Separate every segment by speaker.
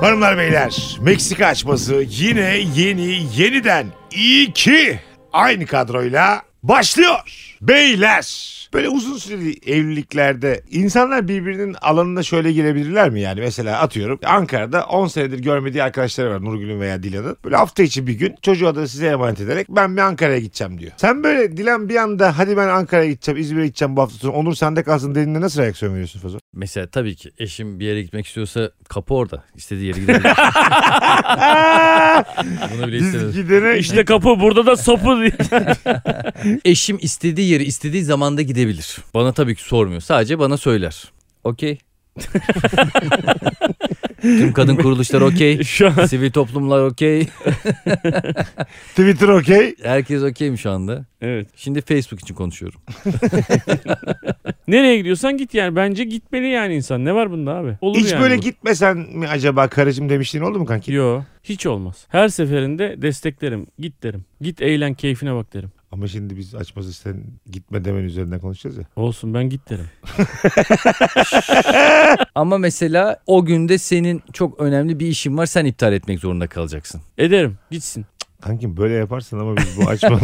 Speaker 1: Hanımlar beyler Meksika açması yine yeni yeniden iki aynı kadroyla başlıyor. Beyler böyle uzun süreli evliliklerde insanlar birbirinin alanına şöyle girebilirler mi yani? Mesela atıyorum Ankara'da 10 senedir görmediği arkadaşları var Nurgül'ün veya Dilan'ın. Böyle hafta içi bir gün çocuğa da size emanet ederek ben bir Ankara'ya gideceğim diyor. Sen böyle Dilan bir anda hadi ben Ankara'ya gideceğim İzmir'e gideceğim bu hafta sonu Onur sende kalsın dediğinde nasıl reaksiyon veriyorsun Fazıl?
Speaker 2: Mesela tabii ki eşim bir yere gitmek istiyorsa kapı orada. İstediği yere gidebilir. Bunu bile
Speaker 1: Biz
Speaker 2: istemez.
Speaker 1: gidene
Speaker 3: İşte kapı burada da sopu diye.
Speaker 2: Eşim istediği yeri istediği zamanda gidebilir. Bana tabii ki sormuyor. Sadece bana söyler. Okey. Tüm kadın kuruluşlar okey.
Speaker 3: Şu an
Speaker 2: Sivil toplumlar okey.
Speaker 1: Twitter okey.
Speaker 2: Herkes okey mi şu anda?
Speaker 3: evet.
Speaker 2: Şimdi Facebook için konuşuyorum.
Speaker 3: Nereye gidiyorsan git yani. Bence gitmeli yani insan. Ne var bunda abi? Olur
Speaker 1: Hiç
Speaker 3: yani
Speaker 1: böyle
Speaker 3: bu.
Speaker 1: gitmesen mi acaba karıcığım demiştin oldu mu kanki?
Speaker 3: Yo. Hiç olmaz. Her seferinde desteklerim. Git derim. Git eğlen keyfine bak derim.
Speaker 1: Ama şimdi biz açmaz isten gitme demen üzerinden konuşacağız ya.
Speaker 3: Olsun ben git derim.
Speaker 2: Ama mesela o günde senin çok önemli bir işin var. Sen iptal etmek zorunda kalacaksın.
Speaker 3: Ederim. Gitsin.
Speaker 1: Kankim böyle yaparsan ama biz bu açmaz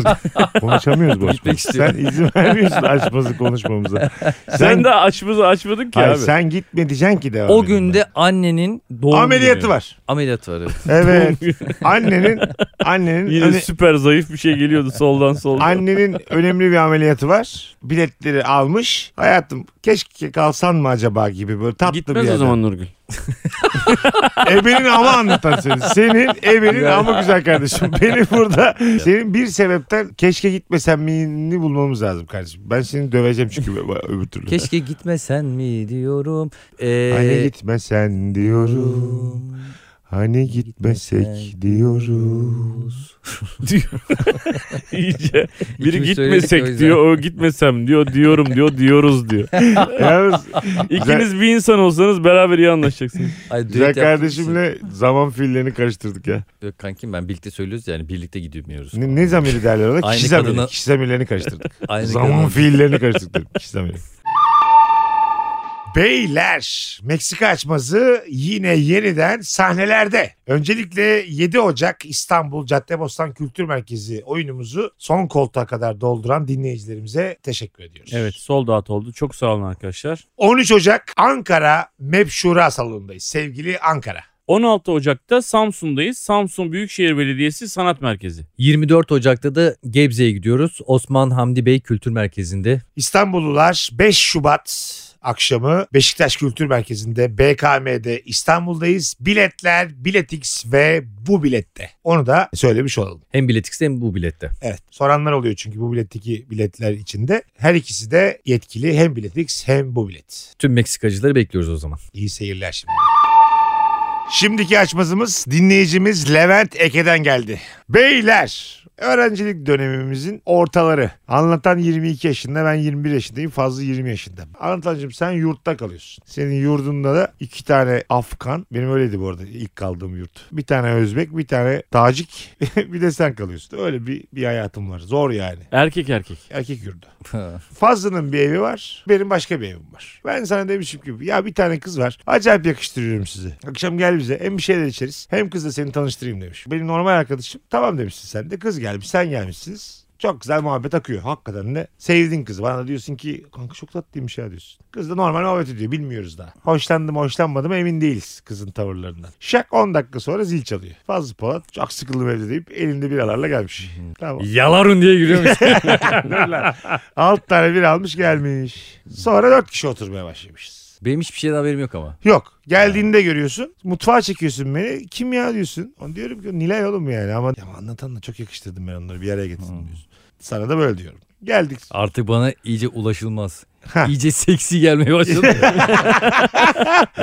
Speaker 1: konuşamıyoruz bu
Speaker 2: Gitmek
Speaker 1: açmazı. Sen
Speaker 2: istiyorum.
Speaker 1: izin vermiyorsun açmazı konuşmamıza. Sen,
Speaker 3: Sen daha açmazı açmadın ki
Speaker 1: Hayır,
Speaker 3: abi.
Speaker 1: sen gitme diyeceksin ki devam
Speaker 2: o
Speaker 1: edin
Speaker 2: günde annenin
Speaker 1: ben.
Speaker 2: doğum
Speaker 1: ameliyatı
Speaker 2: günü.
Speaker 1: var.
Speaker 2: Ameliyatı var. evet.
Speaker 1: Evet. annenin annenin
Speaker 3: Yine
Speaker 1: öne-
Speaker 3: süper zayıf bir şey geliyordu soldan soldan.
Speaker 1: annenin önemli bir ameliyatı var. Biletleri almış. Hayatım keşke kalsan mı acaba gibi böyle tatlı bir
Speaker 3: Gitmez o
Speaker 1: yerden.
Speaker 3: zaman Nurgül.
Speaker 1: Ebenin ama anlatan seni. Senin ebenin ama güzel kardeşim. Beni burada senin bir sebepten keşke gitmesen miyini bulmamız lazım kardeşim. Ben seni döveceğim çünkü ö- öbür türlü.
Speaker 2: Keşke gitmesen mi diyorum. Ee,
Speaker 1: Hani gitmesen diyorum. Hani gitmesek
Speaker 2: Gitmesen
Speaker 1: diyoruz.
Speaker 3: İyice. Biri
Speaker 2: İkimiz söyledik o
Speaker 3: gitmesek
Speaker 2: yüzden.
Speaker 3: diyor, o gitmesem diyor, diyorum diyor, diyoruz diyor.
Speaker 1: Yalnız
Speaker 3: İkiniz bir insan olsanız beraber iyi anlaşacaksınız.
Speaker 2: Ay, düet
Speaker 1: güzel
Speaker 2: yaptığımız
Speaker 1: kardeşimle zaman fiillerini karıştırdık ya.
Speaker 2: için- Yok kankim ben birlikte söylüyoruz yani birlikte gidemiyoruz.
Speaker 1: Ne, ne zamiri derler ona?
Speaker 2: Aynı
Speaker 1: Kişi zamiri.
Speaker 2: kadına-
Speaker 1: Kişi zamirlerini karıştırdık.
Speaker 2: Aynı
Speaker 1: Zaman
Speaker 2: kadın.
Speaker 1: fiillerini karıştırdık dedim. İkisi de böyle. Beyler Meksika açması yine yeniden sahnelerde. Öncelikle 7 Ocak İstanbul Caddebostan Kültür Merkezi oyunumuzu son koltuğa kadar dolduran dinleyicilerimize teşekkür ediyoruz.
Speaker 3: Evet sol dağıt oldu. Çok sağ olun arkadaşlar.
Speaker 1: 13 Ocak Ankara MEP Şura salonundayız. Sevgili Ankara.
Speaker 3: 16 Ocak'ta Samsun'dayız. Samsun Büyükşehir Belediyesi Sanat Merkezi.
Speaker 2: 24 Ocak'ta da Gebze'ye gidiyoruz. Osman Hamdi Bey Kültür Merkezi'nde.
Speaker 1: İstanbullular 5 Şubat akşamı Beşiktaş Kültür Merkezi'nde BKM'de İstanbul'dayız. Biletler, Biletix ve bu bilette. Onu da söylemiş olalım.
Speaker 2: Hem biletikste hem bu bilette.
Speaker 1: Evet. Soranlar oluyor çünkü bu biletteki biletler içinde. Her ikisi de yetkili hem Biletix hem bu bilet.
Speaker 2: Tüm Meksikacıları bekliyoruz o zaman.
Speaker 1: İyi seyirler şimdi. Şimdiki açmazımız dinleyicimiz Levent Eke'den geldi. Beyler öğrencilik dönemimizin ortaları. Anlatan 22 yaşında ben 21 yaşındayım fazla 20 yaşında. Anlatancığım sen yurtta kalıyorsun. Senin yurdunda da iki tane Afgan benim öyleydi bu arada ilk kaldığım yurt. Bir tane Özbek bir tane Tacik bir de sen kalıyorsun. Öyle bir, bir hayatım var zor yani.
Speaker 3: Erkek erkek.
Speaker 1: Erkek yurdu. Fazlı'nın bir evi var. Benim başka bir evim var. Ben sana demişim ki ya bir tane kız var. Acayip yakıştırıyorum sizi. Akşam gel bize hem bir şeyler içeriz hem kızla seni tanıştırayım demiş. Benim normal arkadaşım tamam demişsin sen de kız gelmiş sen gelmişsiniz. Çok güzel muhabbet akıyor hakikaten de. Sevdin kızı bana diyorsun ki kanka çok tatlıymış ya diyorsun. Kız da normal muhabbet ediyor bilmiyoruz daha. Hoşlandım hoşlanmadım emin değiliz kızın tavırlarından. Şak 10 dakika sonra zil çalıyor. Fazlı Polat çok sıkıldım evde deyip elinde biralarla gelmiş. tamam.
Speaker 2: Yalarun diye giriyormuş.
Speaker 1: Alt tane bir almış gelmiş. Sonra dört kişi oturmaya başlamışız.
Speaker 2: Benim hiçbir şeyden haberim yok ama.
Speaker 1: Yok. Geldiğinde görüyorsun. Mutfağa çekiyorsun beni. Kim ya diyorsun. Onu diyorum ki Nilay oğlum yani ama, ama anlatanla çok yakıştırdım ben onları bir araya getirdim diyorsun. Sana da böyle diyorum. Geldik.
Speaker 2: Artık bana iyice ulaşılmaz.
Speaker 1: Ha.
Speaker 2: İyice seksi gelmeye başladı.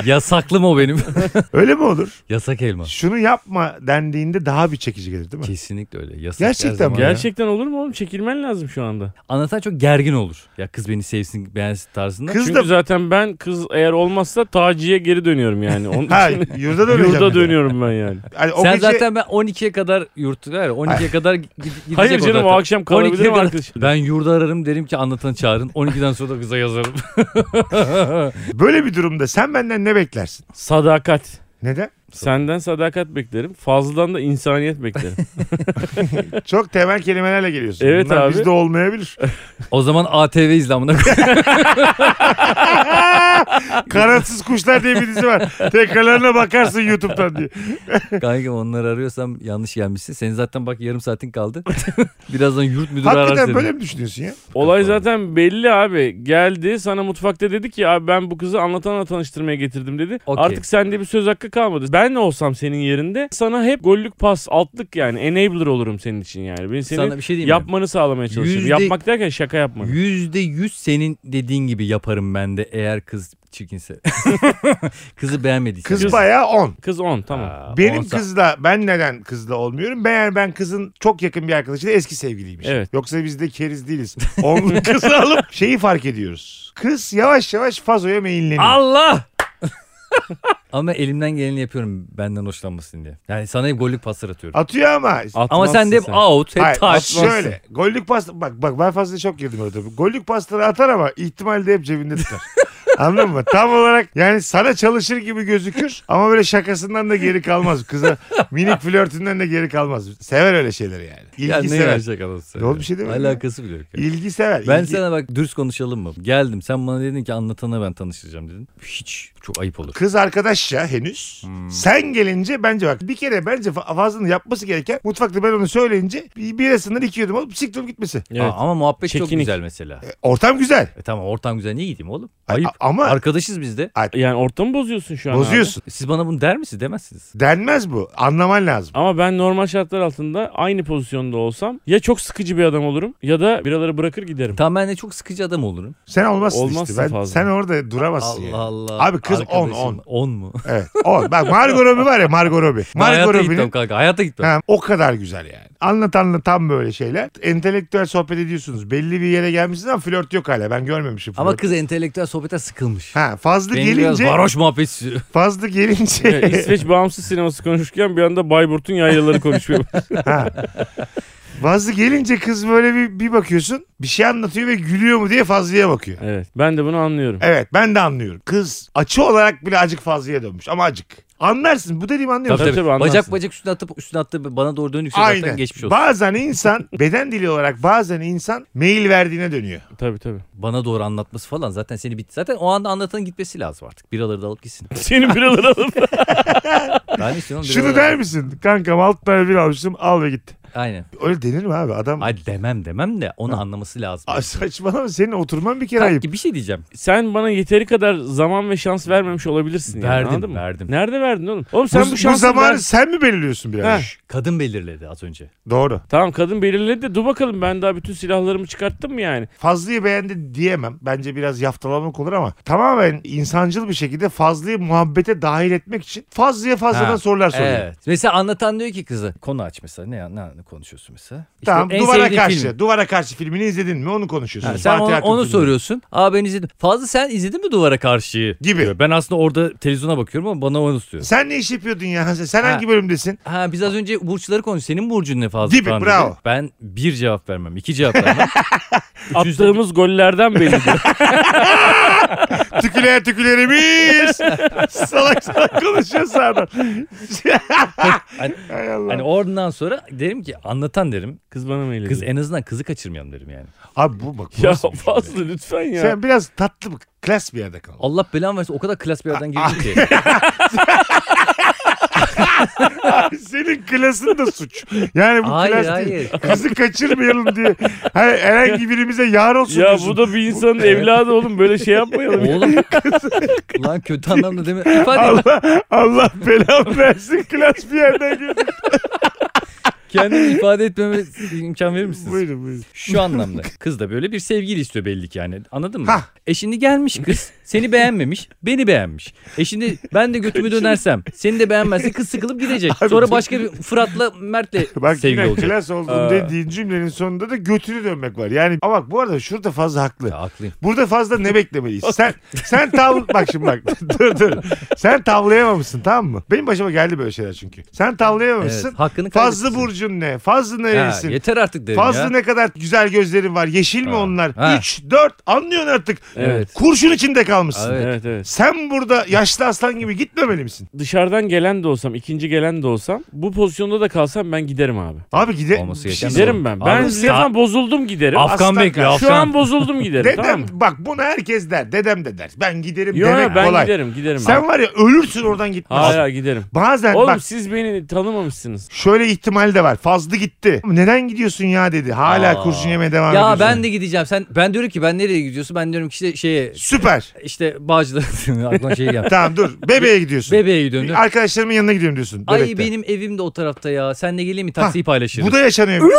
Speaker 2: Yasaklı mı o benim?
Speaker 1: Öyle mi olur?
Speaker 2: Yasak elma.
Speaker 1: Şunu yapma dendiğinde daha bir çekici gelir değil mi?
Speaker 2: Kesinlikle öyle. Yasak her
Speaker 1: Gerçekten
Speaker 2: zaman
Speaker 1: mi?
Speaker 2: ya.
Speaker 3: Gerçekten olur mu oğlum? Çekilmen lazım şu anda.
Speaker 2: Anlatan çok gergin olur. Ya kız beni sevsin beğensin tarzında.
Speaker 1: Kız
Speaker 3: Çünkü
Speaker 1: da...
Speaker 3: zaten ben kız eğer olmazsa taciye geri dönüyorum yani. Onun
Speaker 1: Ha
Speaker 3: için
Speaker 1: yurda döneceğim.
Speaker 3: şey. yurda dönüyorum ben yani.
Speaker 1: Hani o
Speaker 2: Sen
Speaker 1: gece-
Speaker 2: zaten ben 12'ye kadar yurtta var ya, 12'ye kadar gi- gidecek
Speaker 3: Hayır
Speaker 2: o
Speaker 3: canım o
Speaker 2: zaten.
Speaker 3: akşam
Speaker 2: 12'ye
Speaker 3: kalabilirim
Speaker 2: kadar-
Speaker 3: arkadaşım.
Speaker 2: Ben yurda ararım derim ki anlatan çağırın. 12'den sonra da kıza yazarım.
Speaker 1: Böyle bir durumda sen benden ne beklersin?
Speaker 3: Sadakat.
Speaker 1: Neden?
Speaker 3: Senden sadakat beklerim. Fazladan da insaniyet beklerim.
Speaker 1: Çok temel kelimelerle geliyorsun.
Speaker 3: Evet
Speaker 1: Bunlar
Speaker 3: abi.
Speaker 1: Bizde olmayabilir.
Speaker 2: O zaman ATV izlamına
Speaker 1: Kanatsız Kuşlar diye bir dizi var. Tekrarlarına bakarsın YouTube'dan diye.
Speaker 2: Kanka onları arıyorsam yanlış gelmişsin. Senin zaten bak yarım saatin kaldı. Birazdan yurt müdürü arar
Speaker 1: Hakikaten
Speaker 2: seni.
Speaker 1: böyle mi düşünüyorsun ya?
Speaker 3: Olay
Speaker 2: Kafalı.
Speaker 3: zaten belli abi. Geldi sana mutfakta dedi ki abi ben bu kızı anlatanla tanıştırmaya getirdim dedi.
Speaker 2: Okey.
Speaker 3: Artık sende bir söz hakkı kalmadı. Ben olsam senin yerinde sana hep gollük pas altlık yani enabler olurum senin için yani. Ben
Speaker 2: Sana
Speaker 3: seni
Speaker 2: bir şey diyeyim mi?
Speaker 3: yapmanı sağlamaya çalışırım.
Speaker 2: Yüzde-
Speaker 3: Yapmak derken şaka yapmak.
Speaker 2: Yüzde yüz senin dediğin gibi yaparım ben de eğer kız çirkinse. Kızı beğenmediyse.
Speaker 1: Kız bayağı 10.
Speaker 3: Kız 10 tamam.
Speaker 2: Aa,
Speaker 1: Benim
Speaker 2: onsa-
Speaker 1: kızla ben neden kızla olmuyorum? Meğer ben kızın çok yakın bir arkadaşıyla eski sevgiliymiş.
Speaker 3: Evet.
Speaker 1: Yoksa biz de keriz değiliz. Onun kızı alıp şeyi fark ediyoruz. Kız yavaş yavaş fazoya meyilleniyor.
Speaker 2: Allah! Ama elimden geleni yapıyorum benden hoşlanmasın diye. Yani sana hep gollük paslar atıyorum.
Speaker 1: Atıyor ama.
Speaker 2: Ama sen de hep out, hep
Speaker 1: Hayır,
Speaker 2: taş.
Speaker 1: şöyle. Gollük pasta bak bak ben fazla çok girdim orada. Gollük pastaları atar ama ihtimalde hep cebinde tutar. Anladın mı? Tam olarak yani sana çalışır gibi gözükür ama böyle şakasından da geri kalmaz. Kıza minik flörtünden de geri kalmaz. Sever öyle şeyleri yani. İlgi
Speaker 2: Ya ne
Speaker 1: sever.
Speaker 2: verecek anasını?
Speaker 1: Ne oldu,
Speaker 2: ya?
Speaker 1: bir şey demedim ya.
Speaker 2: Alakası bile yok. ya.
Speaker 1: İlgi sever.
Speaker 2: Ben
Speaker 1: İlgi-
Speaker 2: sana bak dürüst konuşalım mı? Geldim sen bana dedin ki anlatana ben tanıştıracağım dedin. Hiç çok ayıp olur.
Speaker 1: Kız arkadaş ya henüz.
Speaker 2: Hmm.
Speaker 1: Sen gelince bence bak bir kere bence fa- fazlının yapması gereken mutfakta ben onu söyleyince bir birasından iki yudum alıp siktirip gitmesi.
Speaker 3: Evet.
Speaker 2: Aa, ama muhabbet çok
Speaker 3: Çekinik.
Speaker 2: güzel mesela.
Speaker 1: Ortam güzel.
Speaker 2: E tamam ortam güzel niye gideyim oğlum?
Speaker 1: A-
Speaker 2: Ayıp.
Speaker 1: a- ama
Speaker 2: Arkadaşız biz de.
Speaker 3: Yani ortamı bozuyorsun şu an abi.
Speaker 1: bozuyorsun.
Speaker 2: Siz bana bunu der misiniz demezsiniz.
Speaker 1: Denmez bu. Anlaman lazım.
Speaker 3: Ama ben normal şartlar altında aynı pozisyonda olsam ya çok sıkıcı bir adam olurum ya da biraları bırakır giderim.
Speaker 2: Tamam ben de çok sıkıcı adam olurum.
Speaker 1: Sen olmazsın,
Speaker 3: Olmazsın
Speaker 1: işte. Ben,
Speaker 3: fazla.
Speaker 1: Sen orada duramazsın
Speaker 2: Allah
Speaker 1: yani.
Speaker 2: Allah.
Speaker 1: Abi kız on,
Speaker 2: Arkadaşım-
Speaker 1: on.
Speaker 2: 10 mu?
Speaker 1: Evet. O, bak Margot Robbie var ya Margot Robbie.
Speaker 2: Ben hayata
Speaker 1: Margot
Speaker 2: gitmem
Speaker 1: Robbie'nin
Speaker 2: kanka hayata gitmem.
Speaker 1: Ha, o kadar güzel yani. Anlat anlat tam böyle şeyler. Entelektüel sohbet ediyorsunuz. Belli bir yere gelmişsiniz ama flört yok hala. Ben görmemişim flört.
Speaker 2: Ama kız entelektüel sohbete sıkılmış.
Speaker 1: Ha, fazla
Speaker 2: Beni biraz
Speaker 1: gelince
Speaker 2: varoş muhabbet istiyor.
Speaker 1: fazla
Speaker 3: Yani
Speaker 1: gelince
Speaker 3: İsveç bağımsız sineması konuşurken bir anda Bayburt'un yaylaları konuşuyor.
Speaker 1: Ha. Fazla gelince kız böyle bir, bir bakıyorsun bir şey anlatıyor ve gülüyor mu diye Fazlı'ya bakıyor.
Speaker 3: evet. Ben de bunu anlıyorum.
Speaker 1: Evet ben de anlıyorum. Kız açı olarak bile acık Fazlı'ya dönmüş ama acık. Anlarsın bu dediğimi
Speaker 2: Tabii,
Speaker 1: anlıyorsun.
Speaker 2: tabii.
Speaker 3: tabii, anlarsın.
Speaker 2: bacak bacak üstüne atıp üstüne attı bana doğru döndükçe şey zaten
Speaker 1: Aynen.
Speaker 2: geçmiş olsun.
Speaker 1: Bazen insan beden dili olarak bazen insan mail verdiğine dönüyor.
Speaker 3: Tabii tabii.
Speaker 2: Bana doğru anlatması falan zaten seni bitti. Zaten o anda anlatanın gitmesi lazım artık. Biraları da alıp gitsin.
Speaker 3: Senin biraları alıp.
Speaker 2: Ben istiyorum
Speaker 1: Şunu
Speaker 2: biraları-
Speaker 1: der misin? Kankam alt tane bir almıştım al ve git.
Speaker 2: Aynen.
Speaker 1: Öyle denir mi abi adam?
Speaker 2: Ay demem demem de onu anlaması lazım.
Speaker 1: Ay, saçmalama senin oturman bir kere ayıp.
Speaker 2: Kanki bir şey diyeceğim.
Speaker 3: Sen bana yeteri kadar zaman ve şans vermemiş olabilirsin. yani,
Speaker 2: Verdim,
Speaker 3: anladın mı?
Speaker 2: verdim.
Speaker 3: Nerede verdin oğlum? Oğlum
Speaker 1: Bu,
Speaker 3: sen bu,
Speaker 1: bu
Speaker 3: şansı
Speaker 1: zamanı
Speaker 3: ver-
Speaker 1: sen mi belirliyorsun biraz?
Speaker 3: Ha.
Speaker 2: Kadın belirledi az önce.
Speaker 1: Doğru.
Speaker 3: Tamam kadın belirledi de dur bakalım ben daha bütün silahlarımı çıkarttım mı yani?
Speaker 1: Fazlıyı beğendi diyemem. Bence biraz yaftalamak olur ama tamamen insancıl bir şekilde Fazlıyı muhabbete dahil etmek için Fazlıya fazladan
Speaker 2: Ha,
Speaker 1: sorular soruyor.
Speaker 2: Evet. Mesela anlatan diyor ki kızı konu aç mesela. Ne, ne konuşuyorsun mesela? İşte
Speaker 1: Tamam
Speaker 2: en
Speaker 1: duvara
Speaker 2: sevdiğin
Speaker 1: karşı.
Speaker 2: film.
Speaker 1: Duvara karşı filmini izledin mi onu konuşuyorsun.
Speaker 2: Ha, sen
Speaker 1: Fatih
Speaker 2: onu,
Speaker 1: Akın
Speaker 2: onu
Speaker 1: filmi.
Speaker 2: soruyorsun. Aa ben izledim. Fazla sen izledin mi duvara karşıyı?
Speaker 1: Gibi.
Speaker 2: Diyor. Ben aslında orada televizyona bakıyorum ama bana onu istiyor.
Speaker 1: Sen ne iş yapıyordun ya? Sen, sen
Speaker 2: Ha.
Speaker 1: hangi bölümdesin?
Speaker 2: Ha biz az önce burçları konuştuk. Senin burcun ne fazla?
Speaker 1: Gibi,
Speaker 2: falan dedi.
Speaker 1: bravo.
Speaker 2: Ben bir cevap vermem. iki cevap vermem. Üçüncü-
Speaker 3: Attığımız gollerden belli.
Speaker 1: Tüküler tükülerimiz. salak salak konuşuyor sağdan.
Speaker 2: Hani-
Speaker 1: Hay Allah.
Speaker 2: Hani oradan sonra derim ki anlatan derim.
Speaker 3: Kız bana mı
Speaker 2: Kız en azından kızı kaçırmayalım derim yani.
Speaker 1: Abi bu bak. bu
Speaker 3: Ya
Speaker 1: nasıl bir şey
Speaker 3: fazla lütfen ya.
Speaker 1: ya? Sen biraz tatlı bak. Klas bir yerde kal.
Speaker 2: Allah belanı versin o kadar klas bir yerden girdim ki.
Speaker 1: Senin klasın da suç. Yani bu
Speaker 2: Hayır,
Speaker 1: klas değil.
Speaker 2: hayır.
Speaker 1: Kızı kaçırmayalım diye. Hani herhangi birimize yar olsun
Speaker 3: Ya
Speaker 1: diyorsun.
Speaker 3: bu da bir insanın evladı oğlum böyle şey yapmayalım.
Speaker 2: Oğlum lan kötü anlamda deme. İfade et.
Speaker 1: Allah, Allah belamı versin klas bir yerden girdi.
Speaker 2: kendimi ifade etmeme imkan verir misiniz?
Speaker 1: buyurun buyurun.
Speaker 2: Şu anlamda. Kız da böyle bir sevgili istiyor belli ki yani. Anladın mı?
Speaker 1: Hah.
Speaker 2: E şimdi gelmiş kız. Seni beğenmemiş. Beni beğenmiş. E şimdi ben de götümü dönersem. Seni de beğenmezse kız sıkılıp gidecek.
Speaker 1: Abi
Speaker 2: Sonra
Speaker 1: bu-
Speaker 2: başka bir Fırat'la Mert'le
Speaker 1: Bak
Speaker 2: sevgili
Speaker 1: yine
Speaker 2: olacak.
Speaker 1: klas oldum dediğin cümlenin sonunda da götünü dönmek var. Yani ama bak bu arada şurada fazla haklı.
Speaker 2: Ya, haklıyım.
Speaker 1: Burada fazla ne beklemeliyiz? Sen sen tav bak şimdi bak dur dur. Sen tavlayamamışsın tamam mı? Benim başıma geldi böyle şeyler çünkü. Sen tavlayamamışsın.
Speaker 2: Evet, hakkını
Speaker 1: Fazlı
Speaker 2: kaybetmişsin.
Speaker 1: Burcu burcun ne? Fazlı
Speaker 2: Ha,
Speaker 1: nerelisin?
Speaker 2: yeter artık derim
Speaker 1: Fazlı
Speaker 2: ya.
Speaker 1: ne kadar güzel gözlerin var. Yeşil mi
Speaker 2: Ha.
Speaker 1: onlar?
Speaker 2: Ha.
Speaker 1: 3 4 anlıyorsun artık.
Speaker 3: Evet.
Speaker 1: Kurşun içinde kalmışsın.
Speaker 2: Evet.
Speaker 3: Evet evet.
Speaker 1: Sen burada yaşlı aslan gibi gitmemeli misin?
Speaker 3: Dışarıdan gelen de olsam, ikinci gelen de olsam bu pozisyonda da kalsam ben giderim abi.
Speaker 1: Abi gide
Speaker 2: Olması
Speaker 1: bir şey
Speaker 2: gereken
Speaker 1: söyleyeyim.
Speaker 3: Giderim ben.
Speaker 2: Abi,
Speaker 3: Ben
Speaker 2: sa-
Speaker 3: Stefan bozuldum giderim.
Speaker 1: Af-
Speaker 2: Afgan
Speaker 1: Aslan
Speaker 2: bekliyor
Speaker 1: kar-
Speaker 2: Afgan.
Speaker 3: Şu an bozuldum giderim
Speaker 1: Dedem
Speaker 3: şey tamam mı?
Speaker 1: bak bunu herkes der. Dedem de der. Ben giderim
Speaker 3: Yo,
Speaker 1: demek
Speaker 3: ben
Speaker 1: kolay.
Speaker 3: giderim giderim.
Speaker 1: Sen var ya ölürsün oradan gitmezsin.
Speaker 3: Hala giderim.
Speaker 1: Bazen
Speaker 3: Oğlum
Speaker 1: bak
Speaker 3: siz beni tanımamışsınız.
Speaker 1: şöyle ihtimal de var. Fazlı gitti. Neden gidiyorsun ya dedi. Hala
Speaker 2: Aa.
Speaker 1: kurşun yemeye devam ediyorsun.
Speaker 2: Ya ben de gideceğim. Sen ben diyorum ki ben nereye gidiyorsun? Ben diyorum ki işte şeye
Speaker 1: Süper.
Speaker 2: işte Bağcılar aklıma şey geldi.
Speaker 1: Tamam dur. Bebeğe gidiyorsun.
Speaker 2: Bebeğe gidiyorum. diyorum.
Speaker 1: Arkadaşlarımın yanına gidiyorum diyorsun.
Speaker 2: Ay
Speaker 1: bebekte.
Speaker 2: benim evim de o tarafta ya. Sen de geleyim mi taksiyi paylaşırız.
Speaker 1: Bu da yaşanıyor.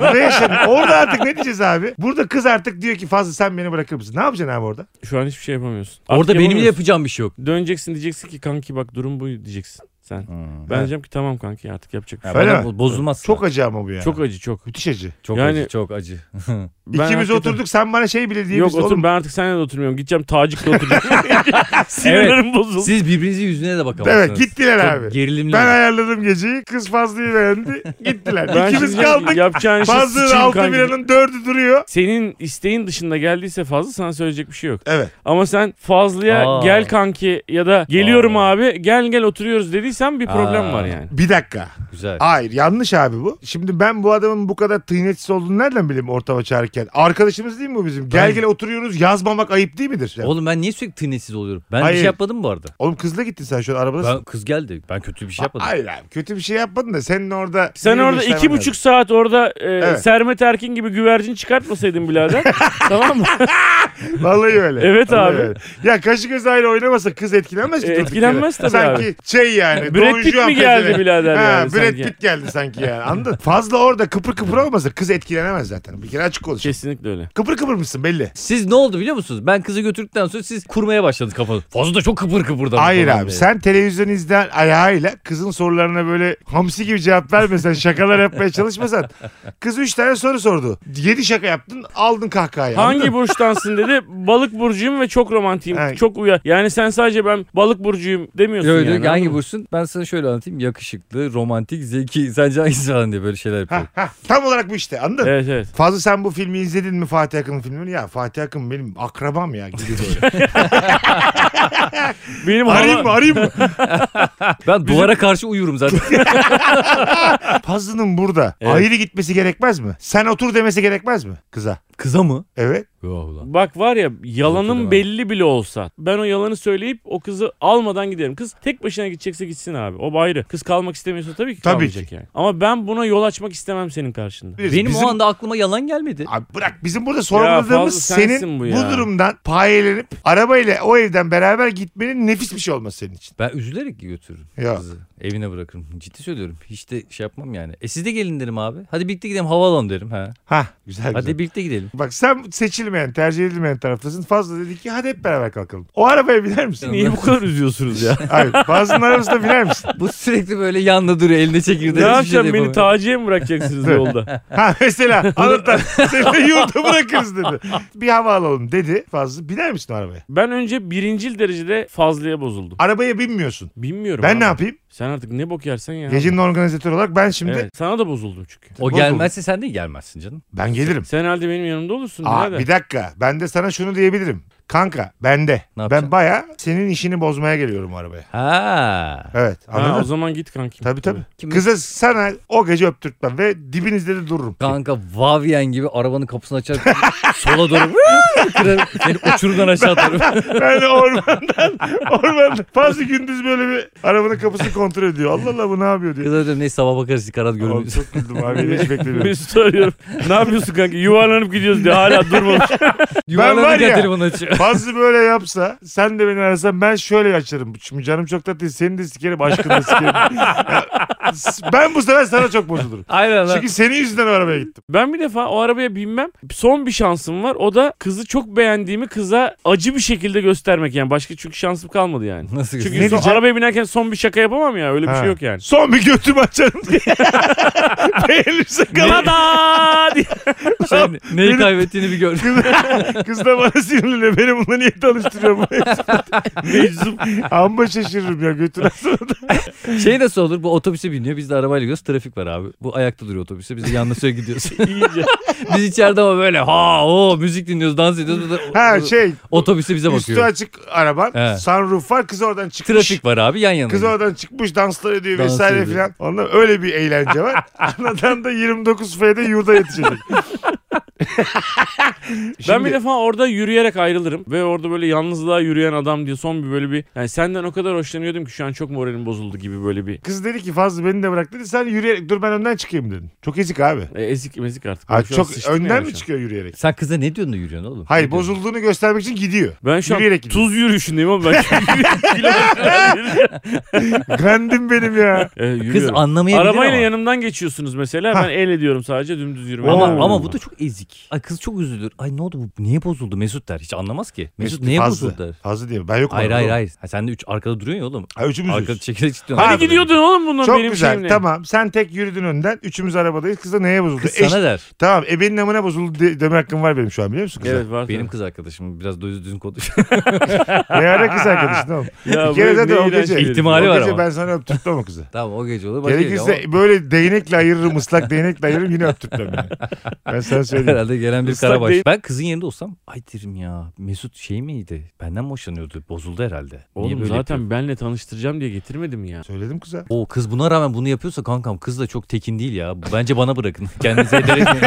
Speaker 1: Bu da yaşanıyor. Orada artık ne diyeceğiz abi? Burada kız artık diyor ki fazla sen beni bırakır mısın? Ne yapacaksın abi orada?
Speaker 3: Şu an hiçbir şey yapamıyorsun. Artık
Speaker 2: Orada benimle
Speaker 3: yapamıyorsun.
Speaker 2: yapacağım bir şey yok.
Speaker 3: Döneceksin diyeceksin ki kanki bak durum bu diyeceksin sen. Ben diyeceğim ki tamam kanki artık yapacak bir şey.
Speaker 1: ben- Öyle
Speaker 2: Hmm. Bana
Speaker 1: mi?
Speaker 2: bo- Bozulmaz.
Speaker 1: Çok acı ama bu ya.
Speaker 3: Çok acı çok.
Speaker 1: Müthiş acı.
Speaker 2: çok
Speaker 3: Yani-
Speaker 2: acı, çok acı.
Speaker 3: Ben
Speaker 1: İkimiz
Speaker 3: hakikaten-
Speaker 1: oturduk sen bana şey bile
Speaker 3: Yok
Speaker 1: diyebilirsin.
Speaker 3: otur
Speaker 1: oğlum,
Speaker 3: ben artık seninle de oturmuyorum. Gideceğim Tacik'le oturacağım. Sinirlerim bozuldu.
Speaker 2: Siz birbirinizin yüzüne de bakamazsınız.
Speaker 1: Evet gittiler
Speaker 2: Çok
Speaker 1: abi.
Speaker 2: Gerilimli.
Speaker 1: Ben ayarladım geceyi. Kız Fazlı'yı beğendi. Gittiler.
Speaker 3: Ben
Speaker 1: İkimiz
Speaker 3: şimdi
Speaker 1: kaldık.
Speaker 3: Yapacağın şey
Speaker 1: Fazlı'nın
Speaker 3: sıçayım
Speaker 1: altı
Speaker 3: kanki.
Speaker 1: biranın dördü duruyor.
Speaker 3: Senin isteğin dışında geldiyse fazla sana söyleyecek bir şey yok.
Speaker 1: Evet.
Speaker 3: Ama sen fazlaya
Speaker 2: Aa.
Speaker 3: gel kanki ya da geliyorum
Speaker 2: Aa.
Speaker 3: abi gel gel oturuyoruz dediysen bir problem
Speaker 2: Aa.
Speaker 3: var yani.
Speaker 1: Bir dakika.
Speaker 2: Güzel.
Speaker 1: Hayır yanlış abi bu. Şimdi ben bu adamın bu kadar tıynetsiz olduğunu nereden bileyim ortama çağırırken? Arkadaşımız değil mi bu bizim? Gel
Speaker 2: Ben-
Speaker 1: gel oturuyoruz yazmamak ayıp değil midir? Yani-
Speaker 2: Oğlum ben niye sürekli tınesiz oluyorum? Ben bir
Speaker 1: Hayır.
Speaker 2: şey yapmadım bu arada.
Speaker 1: Oğlum kızla gittin sen şu an arabadasın.
Speaker 2: Ben, kız geldi. Ben kötü bir şey yapmadım.
Speaker 1: Hayır abi kötü bir şey yapmadın da senin orada...
Speaker 3: Sen
Speaker 1: sinir
Speaker 3: orada
Speaker 1: işlemen
Speaker 3: iki
Speaker 1: lazım.
Speaker 3: buçuk saat orada e,
Speaker 1: Evet.
Speaker 3: Sermet Erkin gibi güvercin çıkartmasaydın birader. tamam mı?
Speaker 1: Vallahi öyle.
Speaker 3: Evet
Speaker 1: Vallahi
Speaker 3: abi.
Speaker 1: öyle. Ya kaşı göz ayrı oynamasa kız etkilenmez ki.
Speaker 3: E,
Speaker 1: durduk
Speaker 3: etkilenmez
Speaker 1: yere.
Speaker 3: tabii abi.
Speaker 1: Sanki şey yani.
Speaker 3: Brad
Speaker 1: Don
Speaker 3: Pitt
Speaker 1: Juan
Speaker 3: mi geldi
Speaker 1: pezevenk.
Speaker 3: birader
Speaker 1: ha,
Speaker 3: yani
Speaker 1: Brad
Speaker 3: sanki?
Speaker 1: Pitt geldi sanki yani anladın? Fazla orada kıpır kıpır olmasa kız etkilenemez zaten. Bir kere açık konuş.
Speaker 3: Kesinlikle öyle.
Speaker 1: Kıpır kıpır mısın belli.
Speaker 2: Siz ne oldu biliyor musunuz? Ben kızı götürdükten sonra siz kurmaya başladınız kafanızı. Fazla da çok kıpır kıpırdan.
Speaker 1: Hayır
Speaker 2: falan
Speaker 1: abi
Speaker 2: diye.
Speaker 1: sen televizyon izleyen ayağıyla kızın sorularına böyle hamsi gibi cevap vermesen şakalar yapmaya çalışmasan. Kız 3 tane soru sordu. 7 şaka yaptın aldın kahkahayı.
Speaker 3: Hangi burçtansın dedi. Balık burcuyum ve çok romantiyim.
Speaker 1: Evet.
Speaker 3: Çok uyar. Yani sen sadece ben balık burcuyum demiyorsun
Speaker 2: Yok,
Speaker 3: yani.
Speaker 2: diyor ki
Speaker 3: anladın
Speaker 2: hangi
Speaker 3: mı?
Speaker 2: burçsun? Ben sana şöyle anlatayım. Yakışıklı, romantik, zeki, sence hangisi falan diye böyle şeyler yapıyor.
Speaker 1: Ha, ha, tam olarak bu işte anladın?
Speaker 3: Evet evet.
Speaker 1: Fazla sen bu filmi izledin mi Fatih Akın'ın filmini? Ya Fatih Akın benim akrabam ya. Gibi böyle.
Speaker 3: Benim
Speaker 1: arayayım mı
Speaker 3: hala...
Speaker 1: arayayım mı?
Speaker 2: Ben duvara karşı uyurum zaten.
Speaker 1: Fazlı'nın burada
Speaker 3: Evet.
Speaker 1: ayrı gitmesi gerekmez mi? Sen otur demesi gerekmez mi kıza?
Speaker 2: Kıza mı?
Speaker 1: Evet.
Speaker 2: Yok ulan.
Speaker 3: Bak var ya
Speaker 2: Yok, öyle
Speaker 3: yalanın belli bile olsa ben o yalanı söyleyip o kızı almadan giderim. Kız tek başına gidecekse gitsin abi. O ayrı. Kız kalmak istemiyorsa tabii ki
Speaker 1: Tabii
Speaker 3: kalmayacak
Speaker 1: ki.
Speaker 3: yani. Ama ben buna yol açmak istemem senin karşında.
Speaker 1: Biz-
Speaker 2: Benim
Speaker 1: bizim-
Speaker 2: o anda aklıma yalan gelmedi.
Speaker 1: Abi bırak bizim burada
Speaker 3: Ya
Speaker 1: sorguladığımız
Speaker 3: Fazlı
Speaker 1: senin
Speaker 3: sensin
Speaker 1: bu,
Speaker 3: bu ya.
Speaker 1: durumdan payelenip arabayla o evden beraber gitmenin nefis bir şey olması senin için.
Speaker 2: Ben üzülerek götürürüm
Speaker 1: Ya.
Speaker 2: kızı. Evine bırakırım. Ciddi söylüyorum. Hiç de şey yapmam yani. E siz de gelin derim abi. Hadi birlikte gidelim havalanalım derim. Ha.
Speaker 1: Ha güzel güzel.
Speaker 2: Hadi birlikte gidelim.
Speaker 1: Bak sen seçilmeyen, tercih edilmeyen taraftasın. Fazla dedi ki hadi hep beraber kalkalım. O arabaya biner misin?
Speaker 3: Niye bu kadar üzüyorsunuz ya?
Speaker 1: Hayır. Fazlının arabasına biner misin?
Speaker 2: Bu sürekli böyle yanında duruyor. Eline çekirdeği.
Speaker 3: ne
Speaker 2: hiçbir şey
Speaker 3: yapacaksın?
Speaker 2: de
Speaker 3: Beni
Speaker 2: yapamıyor.
Speaker 3: taciye mi bırakacaksınız yolda?
Speaker 1: Ha mesela anahtar seni yurda bırakırız dedi. Bir hava alalım dedi Fazlı. Biner misin o arabaya?
Speaker 3: Ben önce birincil derecede fazlaya bozuldum.
Speaker 1: Arabaya binmiyorsun.
Speaker 3: Bilmiyorum.
Speaker 1: Ben
Speaker 3: abi.
Speaker 1: ne yapayım?
Speaker 3: Sen artık ne bok yersen ya.
Speaker 1: Gecenin organizatörü olarak ben şimdi
Speaker 3: Evet. Sana da bozuldum çünkü.
Speaker 2: O gelmezse sen de gelmezsin canım.
Speaker 1: ben gelirim.
Speaker 3: Sen herhalde benim yanımda olursun.
Speaker 1: Aa,
Speaker 3: birader.
Speaker 1: bir dakika ben de sana şunu diyebilirim. Kanka bende.
Speaker 2: Ne
Speaker 1: Ben
Speaker 2: yapacaksın?
Speaker 1: baya senin işini bozmaya geliyorum o arabaya.
Speaker 2: Ha.
Speaker 1: Evet anladın
Speaker 3: Ha, o
Speaker 1: mı?
Speaker 3: zaman git kankim.
Speaker 1: Tabii tabii.
Speaker 2: Kim-
Speaker 1: Kızı sana o gece öptürtmem ve dibinizde de dururum.
Speaker 2: Kanka Vavyen gibi arabanın kapısını açar sola doğru kırarım. Seni uçurumdan aşağı atarım.
Speaker 1: Ben de ormandan, ormandan. Fazla gündüz böyle bir arabanın kapısını kontrol ediyor. Allah Allah bu ne yapıyor diyor.
Speaker 2: Kıza diyorum neyse sabah bakarız karat
Speaker 1: Oğlum,
Speaker 2: görürüz.
Speaker 1: çok güldüm abi. Hiç beklemiyordum.
Speaker 3: Mesut arıyorum. ne yapıyorsun kanka? Yuvarlanıp gidiyoruz diye hala durmamış.
Speaker 2: Yuvarlanırken
Speaker 1: var ya-
Speaker 2: telefonu açıyor.
Speaker 1: Fazla böyle yapsa sen de beni arasan ben şöyle açarım. Şimdi canım çok tatlı seni de sikerim aşkını da sikerim. Ya, s- ben bu sefer sana çok bozulurum.
Speaker 2: Aynen lan.
Speaker 1: Çünkü senin yüzünden o arabaya gittim.
Speaker 3: Ben bir defa o arabaya binmem. Son bir şansım var. O da kızı çok beğendiğimi kıza acı bir şekilde göstermek yani. Başka çünkü şansım kalmadı yani.
Speaker 2: Nasıl
Speaker 3: Çünkü
Speaker 2: Çünkü
Speaker 1: Ne
Speaker 3: son-
Speaker 1: diyeceğim?
Speaker 3: arabaya binerken son bir şaka yapamam ya. Öyle bir
Speaker 1: Ha.
Speaker 3: şey yok yani.
Speaker 1: Son bir götümü açarım diye. Beğenirse kalan.
Speaker 3: Tada! diye.
Speaker 2: neyi kaybettiğini bir gör.
Speaker 1: Kız, kız da bana sinirli. Beni bununla niye tanıştırıyor bu Meczup. Amma şaşırırım ya götür.
Speaker 2: Şey nasıl olur bu otobüse biniyor. Biz de arabayla gidiyoruz. Trafik var abi. Bu ayakta duruyor otobüse. Biz de yanına süre gidiyoruz.
Speaker 3: İyice.
Speaker 2: Biz içeride ama böyle ha o müzik dinliyoruz, dans ediyoruz. Bu da-
Speaker 1: Ha şey
Speaker 2: Otobüse bize
Speaker 1: üstü
Speaker 2: bakıyor.
Speaker 1: açık araban.
Speaker 2: He.
Speaker 1: Sunroof var kız oradan çıkmış.
Speaker 2: Trafik var abi yan yana.
Speaker 1: Kız oradan çıkmış danslar ediyor
Speaker 2: Dans
Speaker 1: vesaire
Speaker 2: ediyor.
Speaker 1: filan. Ondan öyle bir eğlence var. Anadan da 29 F'de yurda yetişecek.
Speaker 3: ben
Speaker 1: Şimdi-
Speaker 3: bir defa orada yürüyerek ayrılırım ve orada böyle yalnızlığa yürüyen adam diye son bir böyle bir yani senden o kadar hoşlanıyordum ki şu an çok moralim bozuldu gibi böyle bir
Speaker 1: Kız dedi ki fazla beni de bırak dedi. Sen yürüyerek dur ben önden çıkayım dedin. Çok ezik abi.
Speaker 3: E, ezik mezik artık.
Speaker 1: Ha,
Speaker 3: Ben şu an
Speaker 1: çok
Speaker 3: sıçtım yani
Speaker 1: önden mi
Speaker 3: şu an.
Speaker 1: çıkıyor yürüyerek?
Speaker 2: Sen kıza ne diyorsun da yürüyorsun oğlum?
Speaker 1: Hayır
Speaker 2: Ne diyorsun?
Speaker 1: bozulduğunu göstermek için gidiyor.
Speaker 3: Ben şu an
Speaker 1: Yürüyerek gidiyorum.
Speaker 3: tuz yürüyüşündeyim ama ben şu an yürüyerek
Speaker 1: Grandim benim ya.
Speaker 3: E,
Speaker 2: Kız
Speaker 3: yürüyorum.
Speaker 2: anlamayabilir
Speaker 3: Arabayla
Speaker 2: ama.
Speaker 3: yanımdan geçiyorsunuz mesela.
Speaker 1: Ha.
Speaker 3: Ben el ediyorum sadece dümdüz yürüme.
Speaker 2: Ama,
Speaker 1: Oo.
Speaker 2: ama bu da çok ezik. Ay kız çok üzülür. Ay ne oldu bu? Niye bozuldu? Mesut der. Hiç anlamaz ki. Mesut, niye
Speaker 1: fazla.
Speaker 2: bozuldu der.
Speaker 1: Fazla diye. Ben yokum.
Speaker 2: Hayır
Speaker 1: orada.
Speaker 2: hayır hayır. Ha, sen de üç arkada duruyorsun ya oğlum.
Speaker 1: Ha, üçümüzüz.
Speaker 2: Arkada çekerek gidiyorsun.
Speaker 1: Ha,
Speaker 3: Hadi
Speaker 2: Arkada
Speaker 3: gidiyordun oğlum bundan
Speaker 1: Çok
Speaker 3: benim
Speaker 1: güzel.
Speaker 3: şeyimle.
Speaker 1: Tamam. Sen tek yürüdün önden. Üçümüz arabadayız. Kız da neye bozuldu?
Speaker 2: Kız
Speaker 1: Eş-
Speaker 2: sana der.
Speaker 1: Tamam. Ebenin amına bozuldu de- deme hakkım var benim şu an biliyor musun kıza?
Speaker 3: Evet var.
Speaker 2: Benim
Speaker 3: Benim
Speaker 2: kız arkadaşım biraz düz düzgün konuş.
Speaker 1: Ne ara kız arkadaşın oğlum?
Speaker 3: ya,
Speaker 1: Bir kere
Speaker 3: bu
Speaker 1: de de o
Speaker 3: ne iğrenç
Speaker 1: gece.
Speaker 3: herif.
Speaker 2: İhtimal- ihtimali
Speaker 1: o
Speaker 2: var
Speaker 1: gece
Speaker 2: ama.
Speaker 1: ben sana öptürtmem o kızı.
Speaker 2: tamam o gece olur. başka gece
Speaker 1: Gerekirse
Speaker 2: ama
Speaker 1: böyle değnekle ayırırım ıslak değnekle ayırırım yine öptürtmem yani. Ben sana söyleyeyim.
Speaker 2: Herhalde gelen bir
Speaker 3: Islak
Speaker 2: karabaş.
Speaker 3: değil.
Speaker 2: Ben kızın yerinde olsam ay derim ya Mesut şey miydi? Benden mi hoşlanıyordu? Bozuldu herhalde. Niye
Speaker 3: Oğlum
Speaker 2: böyle
Speaker 3: zaten
Speaker 2: yapıyor?
Speaker 3: benle tanıştıracağım diye getirmedim ya.
Speaker 1: Söyledim kıza.
Speaker 2: O kız buna rağmen bunu yapıyorsa kankam kız da çok tekin değil ya. Bence bana bırakın. Kendinize eder etmeyin.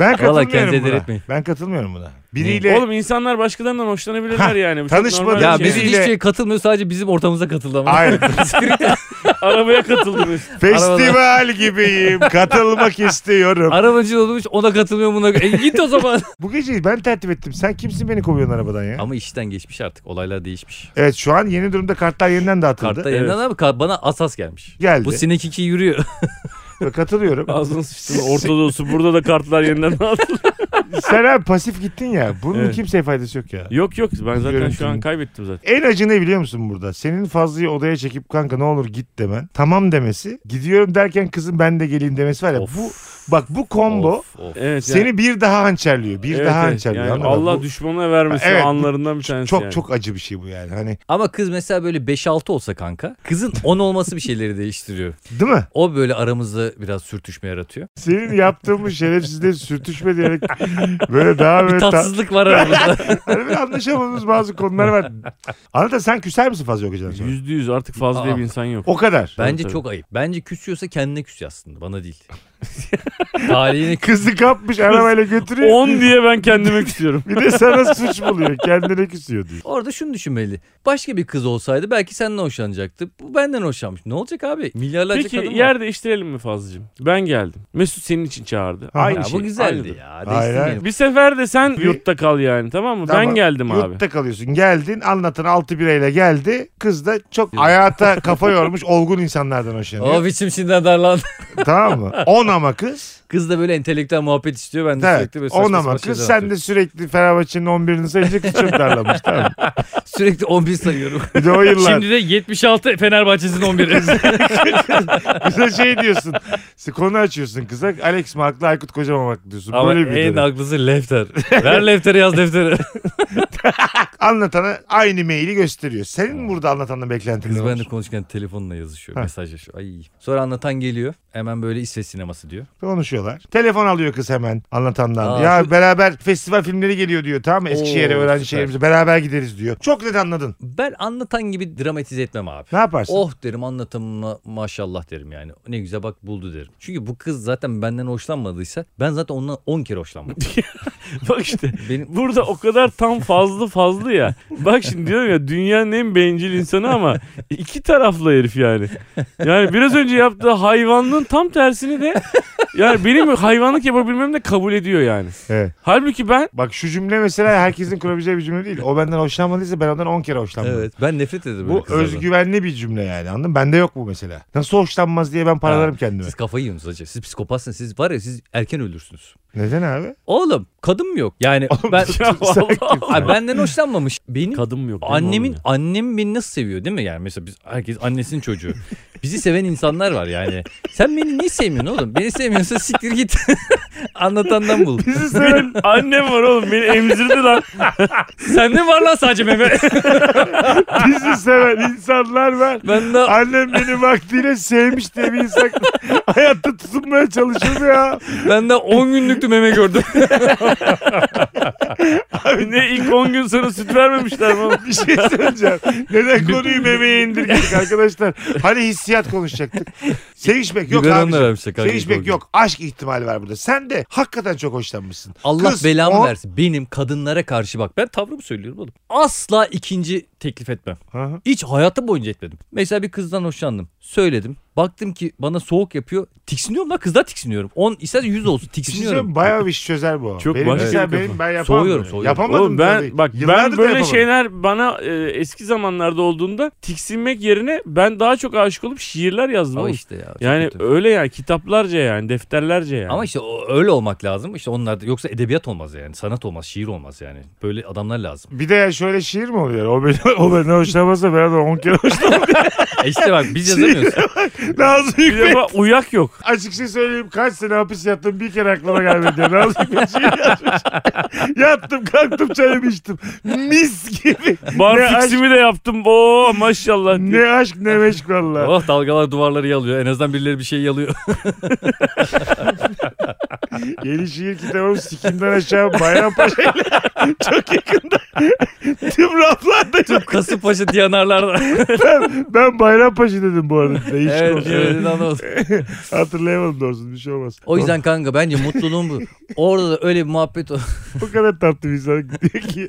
Speaker 1: Ben katılmıyorum
Speaker 2: kendinize eder
Speaker 1: buna.
Speaker 2: etmeyin.
Speaker 1: Ben katılmıyorum buna. Biriyle
Speaker 3: Oğlum insanlar başkalarından hoşlanabilirler
Speaker 1: Ha,
Speaker 3: yani. Bu çok
Speaker 1: tanışmadan
Speaker 3: normal
Speaker 2: ya
Speaker 3: bir şey.
Speaker 2: Mesut hiçbir şeye katılmıyor sadece bizim ortamımıza katıldı ama.
Speaker 1: Hayır.
Speaker 3: Arabaya katıldınız.
Speaker 1: Festival gibiyim. Katılmak istiyorum.
Speaker 2: Arabacı olmuş ona katılmıyor buna. E, git o zaman.
Speaker 1: Bu geceyi ben tertip ettim. Sen kimsin beni kovuyorsun arabadan ya?
Speaker 2: ama işten geçmiş artık. Olaylar değişmiş.
Speaker 1: Evet şu an yeni durumda kartlar yeniden dağıtıldı.
Speaker 2: Kartta yeniden abi ka- bana asas gelmiş.
Speaker 1: Geldi.
Speaker 2: Bu sinek iki yürüyor.
Speaker 1: Ve Katılıyorum.
Speaker 3: Ağzını sıçtın. Orta Doğusu burada da kartlar yeniden dağıtıldı.
Speaker 1: Sen abi pasif gittin ya. Bunun
Speaker 3: Evet.
Speaker 1: kimseye faydası yok ya.
Speaker 3: yok yok ben zaten şu
Speaker 1: Görüntünün.
Speaker 3: an kaybettim zaten.
Speaker 1: En acı ne biliyor musun burada? Senin Fazlı'yı odaya çekip kanka ne olur git demen. Tamam demesi. Gidiyorum derken kızım ben de geleyim demesi var ya.
Speaker 2: Of.
Speaker 1: E, Bu bak bu combo
Speaker 2: Of, of.
Speaker 3: Evet. yani-
Speaker 1: seni bir daha hançerliyor. Bir
Speaker 3: Evet,
Speaker 1: daha
Speaker 3: evet.
Speaker 1: hançerliyor.
Speaker 3: Yani
Speaker 1: anladın mı?
Speaker 3: Allah
Speaker 1: Bu
Speaker 3: düşmanına vermesi
Speaker 1: Evet, bu
Speaker 3: anlarından bir tanesi
Speaker 1: çok
Speaker 3: yani.
Speaker 1: çok acı bir şey bu yani. Hani
Speaker 2: Ama kız mesela böyle 5-6 olsa kanka kızın 10 olması bir şeyleri değiştiriyor.
Speaker 1: değil mi?
Speaker 2: O böyle aramızda biraz sürtüşme yaratıyor.
Speaker 1: Senin yaptığın bu şerefsizliğe sürtüşme diyerek böyle daha
Speaker 2: Bir
Speaker 1: böyle ta-
Speaker 2: tatsızlık var aramızda.
Speaker 1: Hani böyle anlaşamadığımız bazı konular var. Anlatan sen küser misin fazla yok sonra?
Speaker 3: Yüzde yüz artık fazla diye bir insan yok.
Speaker 1: O kadar.
Speaker 2: Bence
Speaker 3: tabii.
Speaker 2: çok ayıp. Bence küsüyorsa kendine küsüyor aslında bana değil. Talihine kü-
Speaker 1: Kızı kapmış arabayla götürüyor.
Speaker 3: 10 diye ben kendime küsüyorum.
Speaker 1: Bir de sana suç buluyor. Kendine küsüyor diyor.
Speaker 2: Orada şunu düşünmeli. Başka bir kız olsaydı belki senden hoşlanacaktı. Bu benden hoşlanmış. Ne olacak abi? Milyarlarca
Speaker 3: Peki
Speaker 2: kadın var.
Speaker 3: yer değiştirelim mi Fazlıcığım? Ben geldim. Mesut senin için çağırdı.
Speaker 1: Ha,
Speaker 3: Aynı
Speaker 2: ya,
Speaker 3: şey.
Speaker 2: bu
Speaker 3: aynı
Speaker 2: güzeldi
Speaker 3: durum.
Speaker 2: ya.
Speaker 1: Hayır,
Speaker 2: Değiştirmeyelim.
Speaker 3: Bir sefer de sen
Speaker 1: Bir-
Speaker 3: yurtta kal yani tamam mı?
Speaker 1: Tamam.
Speaker 3: Ben geldim abi.
Speaker 1: Yurtta kalıyorsun. Geldin anlatan 6 bireyle geldi. Kız da çok hayata kafa yormuş olgun insanlardan hoşlanıyor.
Speaker 2: Of içim şimdiden darlandı.
Speaker 1: tamam mı? 10 ama kız.
Speaker 2: Kız da böyle entelektüel muhabbet istiyor. Ben de
Speaker 1: Evet.
Speaker 2: sürekli böyle saçma
Speaker 1: 10 ama
Speaker 2: sapan
Speaker 1: kız.
Speaker 2: şeyler
Speaker 1: Sen de
Speaker 2: anlatıyorum.
Speaker 1: sürekli Fenerbahçe'nin 11'ini sayınca kız çok darlamış. Tamam. mı?
Speaker 2: Sürekli 11 sayıyorum.
Speaker 1: Bir de o yıllar.
Speaker 2: Şimdi de 76 Fenerbahçe'sin 11'i.
Speaker 1: Kıza şey diyorsun. Konu açıyorsun kıza. Alex mi haklı Aykut Kocaman mı haklı diyorsun.
Speaker 2: Ama
Speaker 1: Böyle bir
Speaker 2: en
Speaker 1: dönem.
Speaker 2: haklısı Lefter. Ver Lefter'i yaz Lefter'i.
Speaker 1: anlatana aynı maili gösteriyor. Senin burada anlatanla beklentin ne
Speaker 2: Kız ben de
Speaker 1: var?
Speaker 2: konuşurken telefonla yazışıyor.
Speaker 1: Ha.
Speaker 2: Mesajlaşıyor. Ay. Sonra anlatan geliyor. Hemen böyle İsveç sineması diyor.
Speaker 1: Konuşuyorlar. Telefon alıyor kız hemen anlatandan.
Speaker 2: Aa,
Speaker 1: ya
Speaker 2: şu-
Speaker 1: beraber festival filmleri geliyor diyor tamam mı? Eskişehir'e
Speaker 2: Oo,
Speaker 1: öğrenci
Speaker 2: süper.
Speaker 1: şehrimize beraber gideriz diyor. Çok net anladın.
Speaker 2: Ben anlatan gibi dramatize etmem abi.
Speaker 1: Ne yaparsın?
Speaker 2: Oh derim anlatımına maşallah derim yani. Ne güzel bak buldu derim. Çünkü bu kız zaten benden hoşlanmadıysa ben zaten ondan 10 kere hoşlanmadım.
Speaker 3: Bak işte
Speaker 2: Benim
Speaker 3: burada o kadar tam fazla fazla ya. Bak şimdi diyorum ya dünyanın en bencil insanı ama iki taraflı herif yani. Yani biraz önce yaptığı hayvanlığın tam tersini de yani benim hayvanlık yapabilmem de kabul ediyor yani.
Speaker 1: Evet.
Speaker 3: Halbuki ben
Speaker 1: Bak şu cümle mesela herkesin kurabileceği bir cümle değil. O benden hoşlanmadıysa ben ondan 10 kere hoşlanmadım.
Speaker 2: evet ben nefret ederim
Speaker 1: Bu
Speaker 2: böyle kızlardan.
Speaker 1: özgüvenli bir cümle yani anladın mı? Bende yok bu mesela. Nasıl hoşlanmaz diye ben paralarım kendime.
Speaker 2: Siz kafayı yiyorsunuz hacı. Siz psikopatsınız. Siz var ya siz erken ölürsünüz.
Speaker 1: Neden abi?
Speaker 2: Oğlum kadın mı yok? Yani ben
Speaker 3: Ya vallahi.
Speaker 2: Ay, benden hoşlanmamış. Benim
Speaker 3: Kadın mı yok? değil mi
Speaker 2: annemin
Speaker 3: oğlum ya?
Speaker 2: annem beni nasıl seviyor değil mi? Yani mesela biz herkes annesinin çocuğu. Bizi seven insanlar var yani. Sen beni niye sevmiyorsun oğlum? Beni sevmiyorsa siktir git. Anlatandan bul.
Speaker 3: Bizi seven annem var oğlum beni emzirdi lan.
Speaker 2: Sende var lan sadece meme.
Speaker 1: Bizi seven insanlar var.
Speaker 2: ben de
Speaker 1: Annem beni vaktiyle sevmiş diye bir insan hayatta tutunmaya çalışır ya.
Speaker 2: ben de 10 günlüktü meme gördüm.
Speaker 3: ne ilk 10 gün sonra süt vermemişler mi? oğlum?
Speaker 1: Bir şey söyleyeceğim. Neden konuyu memeye indirdik arkadaşlar? Hani hissiyat konuşacaktık. Sevişmek yok
Speaker 2: Biberon da
Speaker 1: abi.
Speaker 2: vermişler kanka ilk
Speaker 1: Sevişmek
Speaker 2: orada.
Speaker 1: yok. Aşk ihtimali var burada. Sen de hakikaten çok hoşlanmışsın.
Speaker 2: Allah
Speaker 1: Kız,
Speaker 2: belamı
Speaker 1: o-
Speaker 2: versin. Benim kadınlara karşı bak ben tavrımı söylüyorum oğlum. Asla ikinci teklif etmem.
Speaker 1: Hı hı.
Speaker 2: Hiç hayatım boyunca etmedim. Mesela bir kızdan hoşlandım. Söyledim. Baktım ki bana soğuk yapıyor. Tiksiniyorum lan kızdan tiksiniyorum. 10 isterse 100 olsun
Speaker 1: Bir şey söyleyeyim mi?
Speaker 2: tiksiniyorum.
Speaker 1: bayağı bir iş çözer bu.
Speaker 3: Çok
Speaker 1: benim
Speaker 3: başka
Speaker 1: mesela
Speaker 3: bir
Speaker 1: benim
Speaker 3: kafa.
Speaker 1: ben yapamam.
Speaker 2: Soğuyorum,
Speaker 1: bunu.
Speaker 2: soğuyorum.
Speaker 1: Yapamadım
Speaker 3: Oğlum ben
Speaker 1: tabii.
Speaker 3: bak
Speaker 1: Yıllardır
Speaker 3: ben
Speaker 1: da
Speaker 3: böyle
Speaker 1: yapamadım.
Speaker 3: şeyler bana e, eski zamanlarda olduğunda tiksinmek yerine ben daha çok aşık olup şiirler yazdım.
Speaker 2: Ama
Speaker 3: oğlum.
Speaker 2: işte ya. çok
Speaker 3: yani
Speaker 2: kötü.
Speaker 3: öyle yani kitaplarca yani defterlerce yani.
Speaker 2: Ama işte o- öyle olmak lazım. İşte onlar da yoksa edebiyat olmaz yani. Sanat olmaz, şiir olmaz yani. Böyle adamlar lazım.
Speaker 1: Bir de ya şöyle şiir mi oluyor? O beni, o beni hoşlamazsa ben de 10 kere hoşlanmam.
Speaker 2: E işte bak biz yazamıyoruz.
Speaker 1: Nazım
Speaker 3: bir
Speaker 1: Hikmet.
Speaker 3: defa uyak yok.
Speaker 1: Açık şey söyleyeyim kaç sene hapis yattım bir kere aklıma gelmedi. ya. Nazım Hikmet şiir yazmış. Yattım kalktım çayımı içtim. Mis gibi. Ne
Speaker 3: Bar
Speaker 1: aşk-
Speaker 3: fiksimi de yaptım. Oo maşallah.
Speaker 1: Ne aşk ne meşk valla.
Speaker 2: oh dalgalar duvarları yalıyor. En azından birileri bir şey yalıyor.
Speaker 1: Yeni şiir kitabım sikimden aşağı Bayrampaşa ile çok yakında. Tüm raflarda çok.
Speaker 2: Kasımpaşa diyanarlarda.
Speaker 1: Ben, ben Bayrampaşa dedim bu arada. Değişik
Speaker 2: evet,
Speaker 1: olsun.
Speaker 2: evet, inanılmaz.
Speaker 1: Hatırlayamadım doğrusu bir şey olmaz.
Speaker 2: O yüzden kanka bence mutluluğum bu. Orada da öyle bir muhabbet o-
Speaker 1: Bu kadar tatlı bir insan diyor ki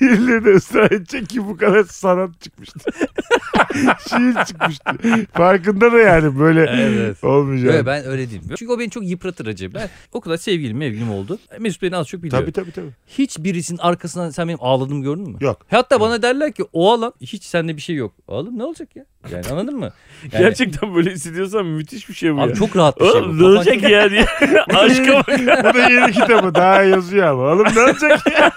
Speaker 1: birileri de ısrar edecek ki bu kadar sanat çıkmıştı. Şiir çıkmıştı. Farkında da yani böyle
Speaker 2: Evet.
Speaker 1: olmayacak.
Speaker 2: Yok, ben öyle değilim. Çünkü o beni çok yıpratır acı. Ben o kadar sevgilim mevgilim oldu. Mesut beni az çok biliyor.
Speaker 1: Tabii tabii tabii.
Speaker 2: Hiç birisinin arkasından sen benim ağladığımı gördün mü?
Speaker 1: Yok.
Speaker 2: Hatta bana derler ki o alan hiç sende bir şey yok. Oğlum ne olacak ya? Yani anladın mı? Yani,
Speaker 3: Gerçekten böyle hissediyorsan müthiş bir şey bu
Speaker 2: Abi
Speaker 3: ya.
Speaker 2: çok rahat bir şey bu.
Speaker 3: Oğlum ne
Speaker 2: Kafan
Speaker 3: olacak
Speaker 2: çok-
Speaker 3: ya diye. Aşka bak.
Speaker 1: Bu da yeni kitabı daha yazıyor ama. Oğlum ne olacak ya?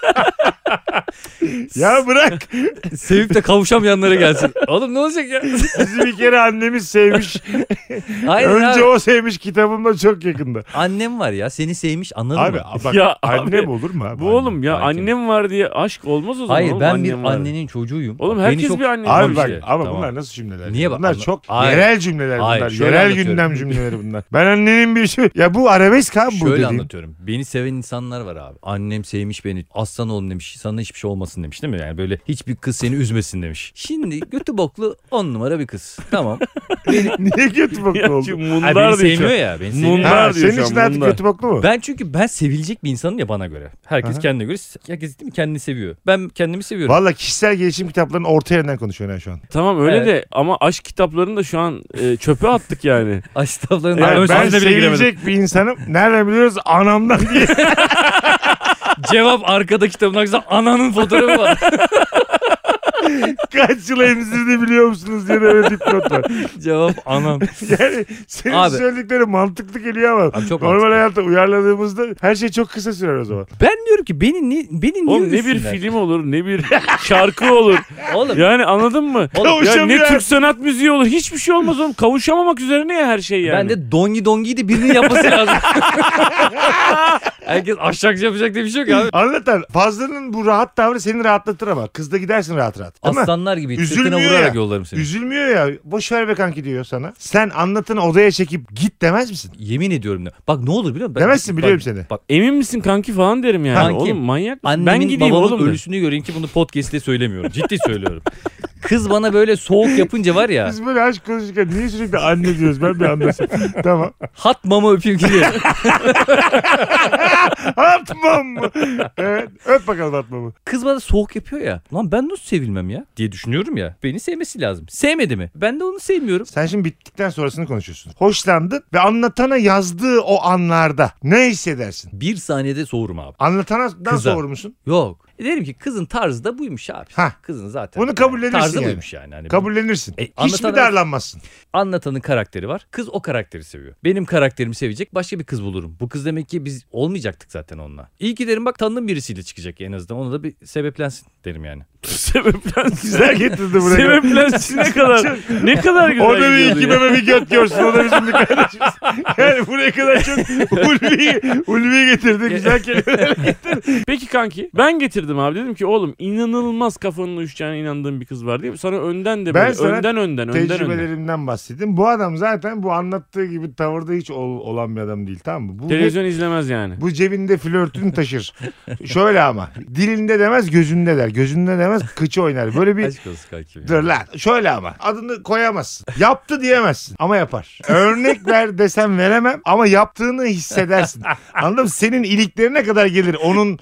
Speaker 1: ya bırak.
Speaker 2: Sevip de kavuşamayanlara gelsin. Oğlum ne olacak ya?
Speaker 1: Bizi bir kere annemiz sevmiş.
Speaker 2: Aynen
Speaker 1: Önce
Speaker 2: abi.
Speaker 1: o sevmiş kitabımla çok yakında.
Speaker 2: Annem var ya seni sevmiş anladın
Speaker 1: Abi
Speaker 2: mı?
Speaker 1: bak
Speaker 3: Ya
Speaker 1: annem
Speaker 3: abi,
Speaker 1: olur mu abi?
Speaker 3: Bu oğlum ya
Speaker 2: Belki.
Speaker 3: annem var diye aşk olmaz o zaman.
Speaker 2: Hayır
Speaker 3: oğlum,
Speaker 2: ben
Speaker 3: annem
Speaker 2: bir
Speaker 3: var.
Speaker 2: annenin çocuğuğum.
Speaker 3: Oğlum
Speaker 2: Beni
Speaker 3: herkes
Speaker 2: çok-
Speaker 3: bir anne.
Speaker 1: Abi
Speaker 2: Tamam
Speaker 1: bak
Speaker 2: işte,
Speaker 1: ama
Speaker 2: şey. tamam.
Speaker 1: bunlar nasıl cümleler?
Speaker 2: Niye bak-
Speaker 1: bunlar
Speaker 2: anla-
Speaker 1: çok
Speaker 2: Hayır.
Speaker 1: yerel cümleler
Speaker 2: Hayır,
Speaker 1: bunlar.
Speaker 2: şöyle
Speaker 1: Yerel
Speaker 2: anlatıyorum.
Speaker 1: gündem cümleleri bunlar. Ben annenin bir şey... Ya bu arabesk abi bu
Speaker 2: Şöyle
Speaker 1: dediğim.
Speaker 2: anlatıyorum. Beni seven insanlar var abi. Annem sevmiş beni. Aslan oğlum demiş. Sana hiçbir şey olmasın demiş değil mi? Yani böyle hiçbir kız seni üzmesin demiş. Şimdi götü boklu on numara bir kız. Tamam.
Speaker 1: Niye kötü
Speaker 3: Ya
Speaker 1: boklu
Speaker 3: çünkü
Speaker 1: oldu?
Speaker 2: Ay, beni
Speaker 3: mundar diyor şu an.
Speaker 2: sevmiyor ya. Beni seviyor.
Speaker 3: Mundar.
Speaker 1: Ha,
Speaker 3: Bunlar diyor
Speaker 1: senin
Speaker 3: şu
Speaker 1: için
Speaker 3: an,
Speaker 1: artık
Speaker 3: bunlar.
Speaker 1: kötü boklu mu?
Speaker 2: Ben çünkü ben sevilecek bir insanım ya bana göre. Herkes
Speaker 1: Aha.
Speaker 2: kendine göre. Herkes değil mi? kendini seviyor. Ben kendimi seviyorum.
Speaker 1: Valla kişisel gelişim kitaplarının orta yerinden konuşuyorsun ha şu an.
Speaker 3: Tamam öyle
Speaker 2: Evet.
Speaker 3: de ama aşk kitaplarını da şu an e, çöpe attık yani.
Speaker 2: Asistanların
Speaker 3: Yani
Speaker 2: daha
Speaker 1: Yani
Speaker 2: ön
Speaker 1: ben
Speaker 2: sözüne bile giremedim.
Speaker 1: sevilecek bir insanım. Nereden biliyoruz? Anamdan diye.
Speaker 2: Cevap arkada kitabın arkasında ananın fotoğrafı var.
Speaker 1: Kaç yıl emzirdi biliyor musunuz diye de öyle dipnot var.
Speaker 2: Cevap anan.
Speaker 1: Yani senin
Speaker 2: Abi.
Speaker 1: söyledikleri mantıklı geliyor ama.
Speaker 2: Abi çok
Speaker 1: Normal
Speaker 2: mantıklı.
Speaker 1: hayatta uyarladığımızda her şey çok kısa sürer o zaman.
Speaker 2: Ben diyorum ki beni ni, beni niye
Speaker 3: Oğlum ne bir
Speaker 2: üzsünler?
Speaker 3: film olur ne bir şarkı olur.
Speaker 2: Oğlum,
Speaker 3: Yani anladın mı?
Speaker 2: oğlum
Speaker 3: Ya
Speaker 1: Kavuşamıyor.
Speaker 3: ne Türk sanat müziği olur hiçbir şey olmaz oğlum. Kavuşamamak üzerine ya her şey yani.
Speaker 2: Ben de dongi dongiyi de birinin yapması lazım. Herkes aşçak yapacak diye bir şey yok ya abi.
Speaker 1: Anlatan Fazlının bu rahat tavrı seni rahatlatır ama. Kızda gidersin rahat rahat. Değil mi?
Speaker 2: Aslanlar gibi
Speaker 1: Üzülmüyor
Speaker 2: sırtına vurarak
Speaker 1: ya.
Speaker 2: yollarım seni.
Speaker 1: Üzülmüyor ya. Boş ver be kanki diyor sana. Sen anlatını odaya çekip git demez misin?
Speaker 2: Yemin ediyorum. ya. Bak ne olur biliyor musun? Ben-
Speaker 1: Demezsin,
Speaker 2: bak-
Speaker 1: biliyorum seni.
Speaker 2: Bak
Speaker 3: Emin misin kanki falan derim yani.
Speaker 2: Kankim.
Speaker 3: Oğlum manyak mısın?
Speaker 2: annemin
Speaker 3: Ben gideyim
Speaker 2: babamın
Speaker 3: oğlum. de.
Speaker 2: ölüsünü göreyim ki bunu podcast'te söylemiyorum. Ciddi söylüyorum. Kız bana böyle soğuk yapınca var ya.
Speaker 1: Biz böyle aşk konuşurken niye sürekli anne diyoruz ben bir anlasam. tamam.
Speaker 2: Hat mama öpeyim ki diye.
Speaker 1: Atmam mı? Evet. Öp bakalım atmamı.
Speaker 2: Kız bana soğuk yapıyor ya. Lan ben nasıl sevilmem ya diye düşünüyorum ya. Beni sevmesi lazım. Sevmedi mi? Ben de onu sevmiyorum.
Speaker 1: Sen şimdi bittikten sonrasını konuşuyorsun. Hoşlandın ve anlatana yazdığı o anlarda ne hissedersin?
Speaker 2: Bir saniyede soğurum abi.
Speaker 1: Anlatana
Speaker 2: Kıza.
Speaker 1: soğur musun?
Speaker 2: Yok. E Derim ki kızın tarzı da buymuş abi.
Speaker 1: Hah.
Speaker 2: Kızın zaten.
Speaker 1: Bunu kabullenirsin
Speaker 2: Tarzı
Speaker 1: yani.
Speaker 2: buymuş yani. Hani
Speaker 1: Kabullenirsin.
Speaker 2: E,
Speaker 1: Hiç mi
Speaker 2: anlatan-
Speaker 1: darlanmazsın?
Speaker 2: anlatanın karakteri var. Kız o karakteri seviyor. Benim karakterimi sevecek başka bir kız bulurum. Bu kız demek ki biz olmayacaktık zaten onunla. İyi ki derim bak tanıdığım birisiyle çıkacak en azından. Ona da bir sebeplensin derim yani.
Speaker 3: Sebeplensin.
Speaker 1: Güzel getirdi buraya.
Speaker 3: Sebeplensin ne kadar. Ne kadar güzel
Speaker 1: Orada bir
Speaker 3: gidiyordu
Speaker 1: iki
Speaker 3: ya.
Speaker 1: meme bir göt görsün. O da bizim bir kardeşimiz. Yani buraya kadar çok ulvi, ulvi getirdi. Güzel kelime.
Speaker 3: Peki kanki ben getirdim abi dedim ki oğlum inanılmaz kafanın uyuşacağına inandığım bir kız var değil mi? Sana önden de
Speaker 1: Ben
Speaker 3: böyle
Speaker 1: sana
Speaker 3: önden önden önden önden.
Speaker 1: Tecrübelerimden bahsettim. Bu adam zaten bu anlattığı gibi tavırda hiç ol- olan bir adam değil tamam mı? Bu
Speaker 3: Televizyon izlemez yani.
Speaker 1: Bu cebinde flörtünü taşır. Şöyle ama dilinde demez gözünde der. Gözünde demez kıçı oynar. Böyle bir
Speaker 2: Aşk olsun kankim. ya.
Speaker 1: Dur lan şöyle ama adını koyamazsın. Yaptı diyemezsin ama yapar. Örnek ver desem veremem ama yaptığını hissedersin. Anladın mı? Senin iliklerine kadar gelir onun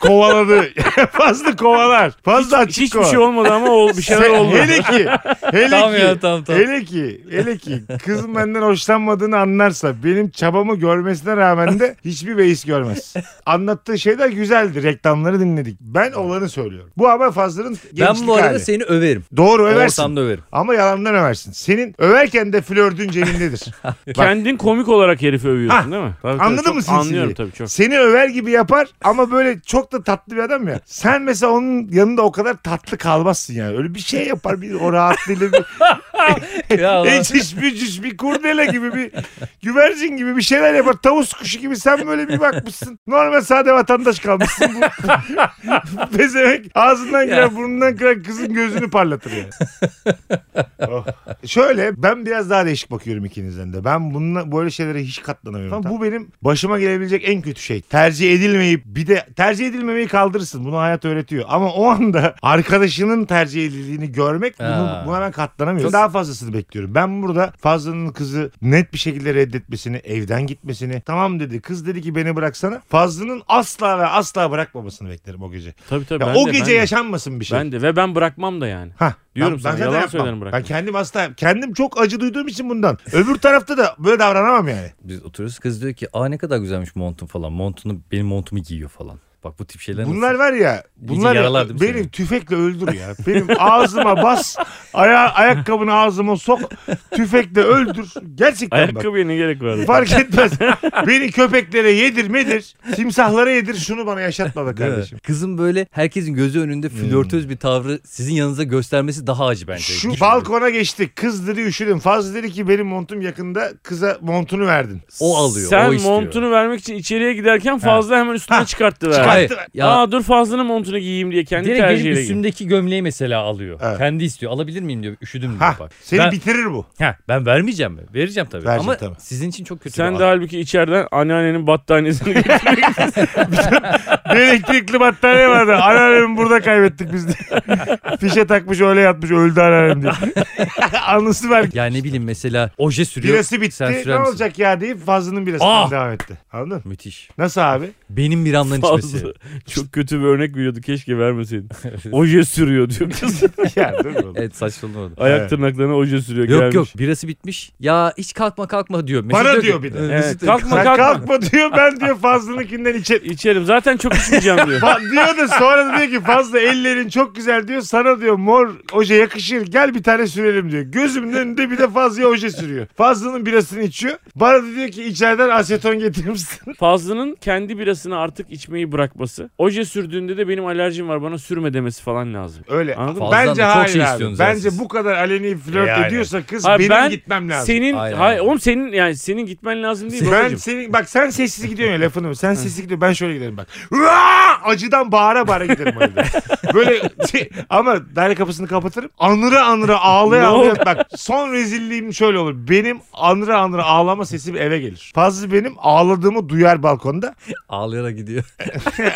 Speaker 1: kovaladığı. fazla kovalar. Fazla
Speaker 3: Hiç-
Speaker 1: açık
Speaker 3: hiçbir
Speaker 1: kovalar.
Speaker 3: şey olmadı ama o bir şeyler
Speaker 1: Sen-
Speaker 3: oldu.
Speaker 1: Hele ki, hele
Speaker 2: Tamam
Speaker 1: ki,
Speaker 2: ya, tamam, tamam.
Speaker 1: hele ki, hele ki kızın benden hoşlanmadığını anlarsa benim çabamı görmesine rağmen de hiçbir beis görmez. Anlattığı şeyler güzeldi. Reklamları dinledik. Ben olanı söylüyorum. Bu ama Fazlır'ın gençlik
Speaker 2: Ben bu arada
Speaker 1: hali.
Speaker 2: seni överim.
Speaker 1: Doğru översin.
Speaker 2: Ortamda överim.
Speaker 1: Ama yalandan översin. Senin överken de flördün cebindedir.
Speaker 3: Kendin komik olarak herifi övüyorsun
Speaker 1: Ha,
Speaker 3: değil mi? Tabii, tabii,
Speaker 1: Anladın
Speaker 3: çok
Speaker 1: mı sinsiliği?
Speaker 3: Anlıyorum tabii çok.
Speaker 1: Seni över gibi yapar ama böyle çok da tatlı bir adam ya. Sen mesela onun yanında o kadar tatlı kalmazsın yani. Öyle bir şey yapar bir o rahatlığıyla bir
Speaker 2: Ya lan.
Speaker 1: eciş bücüş bir kurdele gibi bir güvercin gibi bir şeyler yapar. Tavus kuşu gibi sen böyle bir bakmışsın. Normal sade vatandaş kalmışsın. Bu pezevenk ağzından girer burnundan kırar kızın gözünü parlatır yani. Oh. Şöyle ben biraz daha değişik bakıyorum ikinizden de. Ben bununla böyle şeylere hiç katlanamıyorum. Tamam, bu benim başıma gelebilecek en kötü şey. Tercih edilmeyip bir de tercih edilmemeyi kaldırırsın. Bunu hayat öğretiyor. Ama o anda arkadaşının tercih edildiğini görmek bunu,
Speaker 2: Ha.
Speaker 1: buna ben katlanamıyorum.
Speaker 2: Çok-
Speaker 1: Daha fazlasını bekliyorum. Ben burada Fazlı'nın kızı net bir şekilde reddetmesini, evden gitmesini. Tamam dedi. Kız dedi ki beni bıraksana. Fazlı'nın asla ve asla bırakmamasını beklerim o gece.
Speaker 3: Tabii tabii.
Speaker 1: Ya
Speaker 3: ben
Speaker 1: o
Speaker 3: de,
Speaker 1: gece
Speaker 3: ben de.
Speaker 1: yaşanmasın bir şey.
Speaker 3: Ben de ve ben bırakmam da yani.
Speaker 1: Ha,
Speaker 3: Diyorum sana,
Speaker 1: zaten
Speaker 3: yalan
Speaker 1: yapmam.
Speaker 3: söylerim bırakma.
Speaker 1: Ben kendim hasta kendim çok acı duyduğum için bundan. Öbür tarafta da böyle davranamam yani.
Speaker 2: Biz oturuyoruz kız diyor ki aa ne kadar güzelmiş montun falan. Montunu benim montumu giyiyor falan. Bak bu tip şeyler
Speaker 1: Bunlar
Speaker 2: nasıl?
Speaker 1: var ya bunlar ya,
Speaker 2: yaralardım
Speaker 1: benim
Speaker 2: seni.
Speaker 1: tüfekle öldür ya. Benim ağzıma bas, aya, ayakkabını ağzıma sok, tüfekle öldür. Gerçekten bak.
Speaker 3: Ayakkabıya ne gerek var?
Speaker 1: Fark etmez. Beni köpeklere yedir medir, simsahlara yedir şunu bana yaşatma be
Speaker 2: Değil mi?
Speaker 1: kardeşim. Hmm.
Speaker 2: Kızın böyle herkesin gözü önünde flörtöz bir tavrı sizin yanınıza göstermesi daha acı bence.
Speaker 1: Şu
Speaker 2: Düşünün.
Speaker 1: balkona geçtik. Kız dedi üşüdüm. Fazla dedi ki benim montum yakında. Kıza montunu verdin.
Speaker 2: O alıyor,
Speaker 3: Sen
Speaker 2: o istiyor.
Speaker 3: montunu vermek için içeriye giderken fazla hemen üstüne
Speaker 1: Ha.
Speaker 3: çıkarttı ver.
Speaker 1: Çıkar-
Speaker 2: Hayır,
Speaker 1: Çıkarttı.
Speaker 2: ya
Speaker 3: Aa dur fazlanın montunu giyeyim diye kendi
Speaker 2: direkt gelip
Speaker 3: tercihiyle giyin.
Speaker 2: üstümdeki gömleği mesela alıyor.
Speaker 1: Evet.
Speaker 2: Kendi istiyor. Alabilir miyim diyor. Üşüdüm diyor
Speaker 1: Ha,
Speaker 2: bak.
Speaker 1: seni
Speaker 2: ben,
Speaker 1: bitirir bu.
Speaker 2: ha, ben vermeyeceğim mi? Vereceğim tabii.
Speaker 1: Vereceğim
Speaker 2: Ama
Speaker 1: tabii.
Speaker 2: sizin için çok kötü.
Speaker 3: Sen
Speaker 2: bir
Speaker 3: de
Speaker 2: an.
Speaker 3: halbuki içeriden anneannenin battaniyesini getirdin.
Speaker 1: Bir elektrikli battaniye vardı. Anneannemi burada kaybettik biz diye. Fişe takmış öyle yatmış öldü anneannem diye. Anısı ver.
Speaker 2: Yani ne bileyim mesela oje sürüyor.
Speaker 1: Birası bitti.
Speaker 2: Sen sürer
Speaker 1: ne
Speaker 2: misin?
Speaker 1: olacak ya deyip fazlının birası
Speaker 2: Ah!
Speaker 1: devam etti. Anladın mı?
Speaker 2: Müthiş.
Speaker 1: Nasıl abi?
Speaker 2: Benim bir anların içmesi.
Speaker 3: Fazla. Çok kötü bir örnek veriyordu keşke vermeseydin. Oje sürüyor diyor kız.
Speaker 1: ya dur oğlum.
Speaker 2: Evet saçmalamadı.
Speaker 3: Ayak
Speaker 1: Evet.
Speaker 3: tırnaklarına oje sürüyor
Speaker 2: Yok
Speaker 3: gelmiş.
Speaker 2: yok birası bitmiş. Ya hiç kalkma kalkma diyor. Mesut
Speaker 1: Bana
Speaker 2: ki-
Speaker 1: diyor bir de.
Speaker 2: Evet,
Speaker 3: Evet,
Speaker 2: Mesut diyor ki,
Speaker 3: Ee, kalkma
Speaker 1: Sen
Speaker 3: kalkma.
Speaker 1: kalkma diyor ben diyor fazlınınkinden içe...
Speaker 3: İçerim zaten çok içmeyeceğim diyor.
Speaker 1: Fa- diyor da sonra da diyor ki fazla ellerin çok güzel diyor sana diyor mor oje yakışır gel bir tane sürelim diyor. Gözümün önünde bir de fazla oje sürüyor. Fazlının birasını içiyor. Bana da diyor ki içeriden aseton getirir misin?
Speaker 3: Fazlı'nın kendi birasını artık içmeyi bırakması. Oje sürdüğünde de benim alerjim var bana sürme demesi falan lazım.
Speaker 1: Öyle.
Speaker 3: Anladın mı?
Speaker 2: Fazla
Speaker 1: Bence
Speaker 2: da çok
Speaker 1: hayır
Speaker 2: şey
Speaker 1: abi.
Speaker 2: istiyorsunuz
Speaker 1: Bence
Speaker 2: siz.
Speaker 1: bu kadar aleni flört
Speaker 2: E, aynen.
Speaker 1: ediyorsa kız
Speaker 3: Hayır,
Speaker 1: benim
Speaker 3: ben
Speaker 1: gitmem lazım.
Speaker 3: Senin
Speaker 2: Aynen.
Speaker 3: hayır oğlum senin yani senin gitmen lazım değil
Speaker 1: ben
Speaker 3: babacığım.
Speaker 1: senin bak sen sessiz gidiyorsun ya lafını. Sen sessiz gidiyorsun ben şöyle giderim bak. Uaa! Acıdan bağıra bağıra giderim öyle. Böyle şey- ama daire kapısını kapatırım. Anıra anıra ağlaya
Speaker 3: Ne
Speaker 1: ağlaya bak son rezilliğim şöyle olur. Benim anıra anıra ağlama sesi eve gelir. Fazla benim ağladığımı duyar balkonda.
Speaker 2: Ağlayarak gidiyor.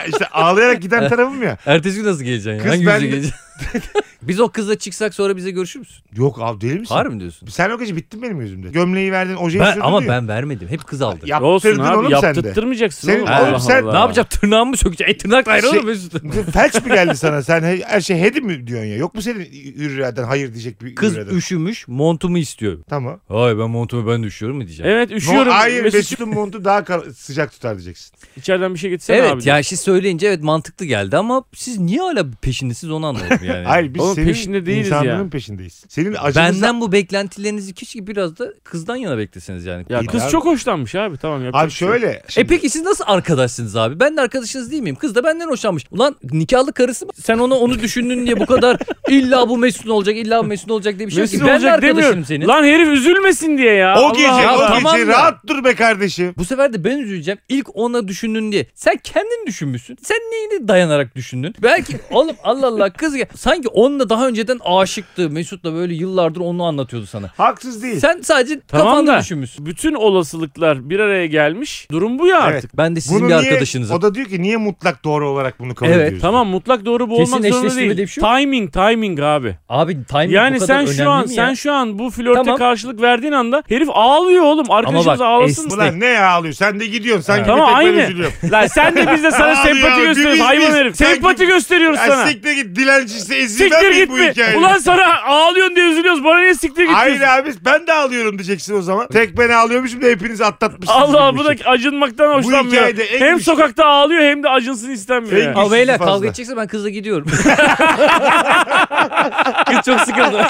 Speaker 1: işte ağlayarak giden tarafım ya.
Speaker 2: Ertesi gün nasıl geleceksin? ya?
Speaker 1: Kız
Speaker 2: Hangi
Speaker 1: ben
Speaker 2: yüzle geleceksin? Biz o kızla çıksak sonra bize görüşür müsün?
Speaker 1: Yok abi deli misin?
Speaker 2: Harbi mi diyorsun?
Speaker 1: Sen o gece bittin benim gözümde. Gömleği verdin, ojeyi
Speaker 2: Ben,
Speaker 1: sürdün
Speaker 2: ama
Speaker 1: Şey diyor.
Speaker 2: ben vermedim. Hep kız aldı.
Speaker 3: Olsun
Speaker 1: Yaptırdın
Speaker 3: abi
Speaker 1: oğlum sen de.
Speaker 3: yaptırtmayacaksın
Speaker 1: Senin-
Speaker 3: oğlum.
Speaker 1: Oğlum
Speaker 3: Allah
Speaker 1: sen-
Speaker 3: Allah.
Speaker 2: Ne yapacağım? Tırnağımı mı sökeceğim? E tırnak da ayrı
Speaker 1: Şey-
Speaker 2: oğlum Mesut.
Speaker 1: Felç mi geldi sana? Sen he- her şey hedi mi diyorsun ya? Yok mu senin ürüraden hayır diyecek bir
Speaker 2: Kız
Speaker 1: ürüraden?
Speaker 2: üşümüş montumu istiyor.
Speaker 1: Tamam.
Speaker 2: Ay ben montumu ben düşüyorum mu diyeceğim.
Speaker 3: Evet
Speaker 1: Üşüyorum.
Speaker 3: üşüyorum.
Speaker 1: hayır
Speaker 3: Mesut,
Speaker 1: Mesut'un montu daha kal- sıcak tutar diyeceksin.
Speaker 3: içeriden bir şey getirsene
Speaker 2: Evet,
Speaker 3: abi.
Speaker 2: ya şimdi söyleyince evet mantıklı geldi ama siz niye hala peşindesiniz onu anlamadım yani.
Speaker 1: Hayır biz
Speaker 3: Oğlum
Speaker 1: senin
Speaker 3: peşinde değiliz ya.
Speaker 1: insanlığın peşindeyiz. Senin acımızdan...
Speaker 2: Benden bu beklentilerinizi keşke biraz da kızdan yana bekleseniz yani.
Speaker 3: Ya
Speaker 1: İyi
Speaker 3: kız
Speaker 1: abi.
Speaker 3: çok hoşlanmış abi tamam yapacak
Speaker 1: Abi
Speaker 3: bir şey yok.
Speaker 1: şöyle.
Speaker 2: E
Speaker 1: şimdi-
Speaker 2: peki siz nasıl arkadaşsınız abi? Ben de arkadaşınız değil miyim? Kız da benden hoşlanmış. Ulan nikahlı karısı mı? Sen ona onu düşündün diye bu kadar illa bu Mesut olacak, illa bu Mesut olacak diye bir şey yok ki.
Speaker 3: Mesut
Speaker 2: Ben de
Speaker 3: olacak
Speaker 2: arkadaşım
Speaker 3: demiyorum.
Speaker 2: senin.
Speaker 3: Lan herif üzülmesin diye ya.
Speaker 1: O
Speaker 3: Allah
Speaker 1: gece,
Speaker 3: Allah.
Speaker 1: o
Speaker 2: Allah.
Speaker 1: gece
Speaker 2: Tamam da.
Speaker 1: rahat dur be kardeşim.
Speaker 2: Bu sefer de ben üzüleceğim. İlk ona düşündün diye. Sen kendin düşünmüşsün. Sen neyini dayanarak düşündün? Belki oğlum Allah Allah kız ya. Sanki onunla daha önceden aşıktı. Mesut'la böyle yıllardır onu anlatıyordu sana.
Speaker 1: Haksız değil.
Speaker 2: Sen sadece
Speaker 3: Tamam
Speaker 2: kafanda
Speaker 3: da.
Speaker 2: düşünmüşsün.
Speaker 3: Bütün olasılıklar bir araya gelmiş. Durum bu ya
Speaker 1: Evet.
Speaker 3: artık.
Speaker 2: Ben de sizin
Speaker 1: Bunu
Speaker 2: bir
Speaker 1: niye-
Speaker 2: arkadaşınızım.
Speaker 1: O da diyor ki niye mutlak doğru olarak bunu kabul
Speaker 2: Evet,
Speaker 1: ediyorsun?
Speaker 3: Tamam mutlak doğru bu
Speaker 2: Kesin
Speaker 3: olmak zorunda
Speaker 2: eşleştirme
Speaker 3: değil.
Speaker 2: diye bir şey yok.
Speaker 3: timing timing abi.
Speaker 2: Abi timing
Speaker 3: yani
Speaker 2: bu kadar
Speaker 3: sen
Speaker 2: önemli
Speaker 3: şu an
Speaker 2: mi ya?
Speaker 3: sen şu an bu flörte
Speaker 2: Tamam.
Speaker 3: karşılık verdiğin anda herif ağlıyor oğlum. Arkadaşımız
Speaker 2: bak,
Speaker 3: ağlasın.
Speaker 2: es-
Speaker 1: Ulan ne ya ağlıyorsun? Sen de gidiyorsun. Sanki
Speaker 3: Tamam,
Speaker 1: bir tek ben
Speaker 3: aynı.
Speaker 1: üzülüyorum.
Speaker 3: Lan sen de biz de sana
Speaker 1: Ağlıyor,
Speaker 3: sempati
Speaker 1: biz-
Speaker 3: gösteriyoruz
Speaker 1: biz-
Speaker 3: hayvan
Speaker 1: biz-
Speaker 3: herif.
Speaker 1: sanki-
Speaker 3: Sempati gösteriyoruz
Speaker 1: Ya
Speaker 3: sana.
Speaker 1: siktir git dilencisi ezil
Speaker 3: Siktir
Speaker 1: vermek bu
Speaker 3: git be.
Speaker 1: hikayeyi.
Speaker 3: Ulan sana ağlıyorsun diye üzülüyoruz. Bana niye siktir git
Speaker 1: Hayır
Speaker 3: diyorsun?
Speaker 1: abi ben de ağlıyorum diyeceksin o zaman. Tek ben ağlıyormuşum da hepiniz atlatmışsınız.
Speaker 3: Allah
Speaker 1: bu
Speaker 3: bu
Speaker 1: işi.
Speaker 3: da acınmaktan hoşlanmıyor.
Speaker 1: hikayede en
Speaker 3: hem
Speaker 1: güçlü-
Speaker 3: sokakta ağlıyor hem de acınsın istemiyor.
Speaker 1: En
Speaker 3: ya.
Speaker 1: güçlü-
Speaker 2: Ama beyler
Speaker 1: Hani fazla.
Speaker 2: kavga edecekse ben kızla gidiyorum. Kız çok sıkıldı.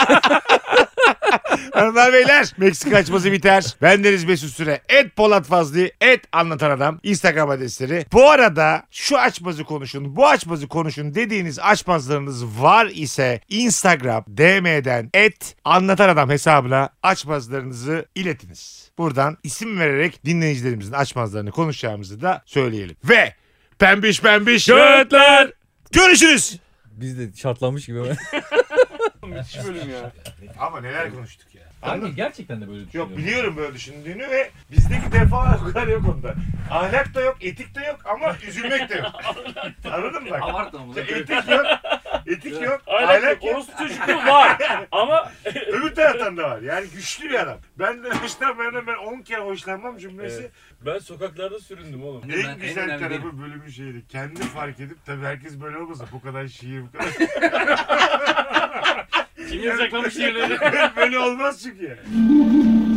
Speaker 1: Hanımlar beyler Meksika açması biter. Ben Deniz Mesut Süre. Et Polat Fazlı. Et Anlatan Adam. Instagram adresleri. Bu arada şu açmazı konuşun. Bu açmazı konuşun dediğiniz açmazlarınız var ise Instagram DM'den et Anlatan Adam hesabına açmazlarınızı iletiniz. Buradan isim vererek dinleyicilerimizin açmazlarını konuşacağımızı da söyleyelim. Ve pembiş pembiş
Speaker 3: Götler.
Speaker 1: görüşürüz.
Speaker 2: Biz de şartlanmış gibi.
Speaker 1: Ama neler konuştuk ya.
Speaker 2: gerçekten de böyle
Speaker 1: Yok biliyorum böyle düşündüğünü ve bizdeki defalar o kadar yok onda. Ahlak da yok, etik de yok ama üzülmek de yok. Anladın mı bak? Etik yok, etik yok, ahlak yok.
Speaker 3: Orası çocukluğu var ama
Speaker 1: Öbür taraftan da var. Yani güçlü bir adam. Ben de hoşlanmayanım ben 10 kere hoşlanmam cümlesi.
Speaker 3: ben sokaklarda süründüm oğlum.
Speaker 2: En
Speaker 1: En
Speaker 2: önemli- en
Speaker 1: güzel
Speaker 2: önemli
Speaker 1: tarafı bölümün şeydi. Kendi fark edip tabii herkes böyle olmasa bu kadar şiir bu kadar.
Speaker 3: Kim yasaklamış
Speaker 1: böyle olmaz çünkü. yani.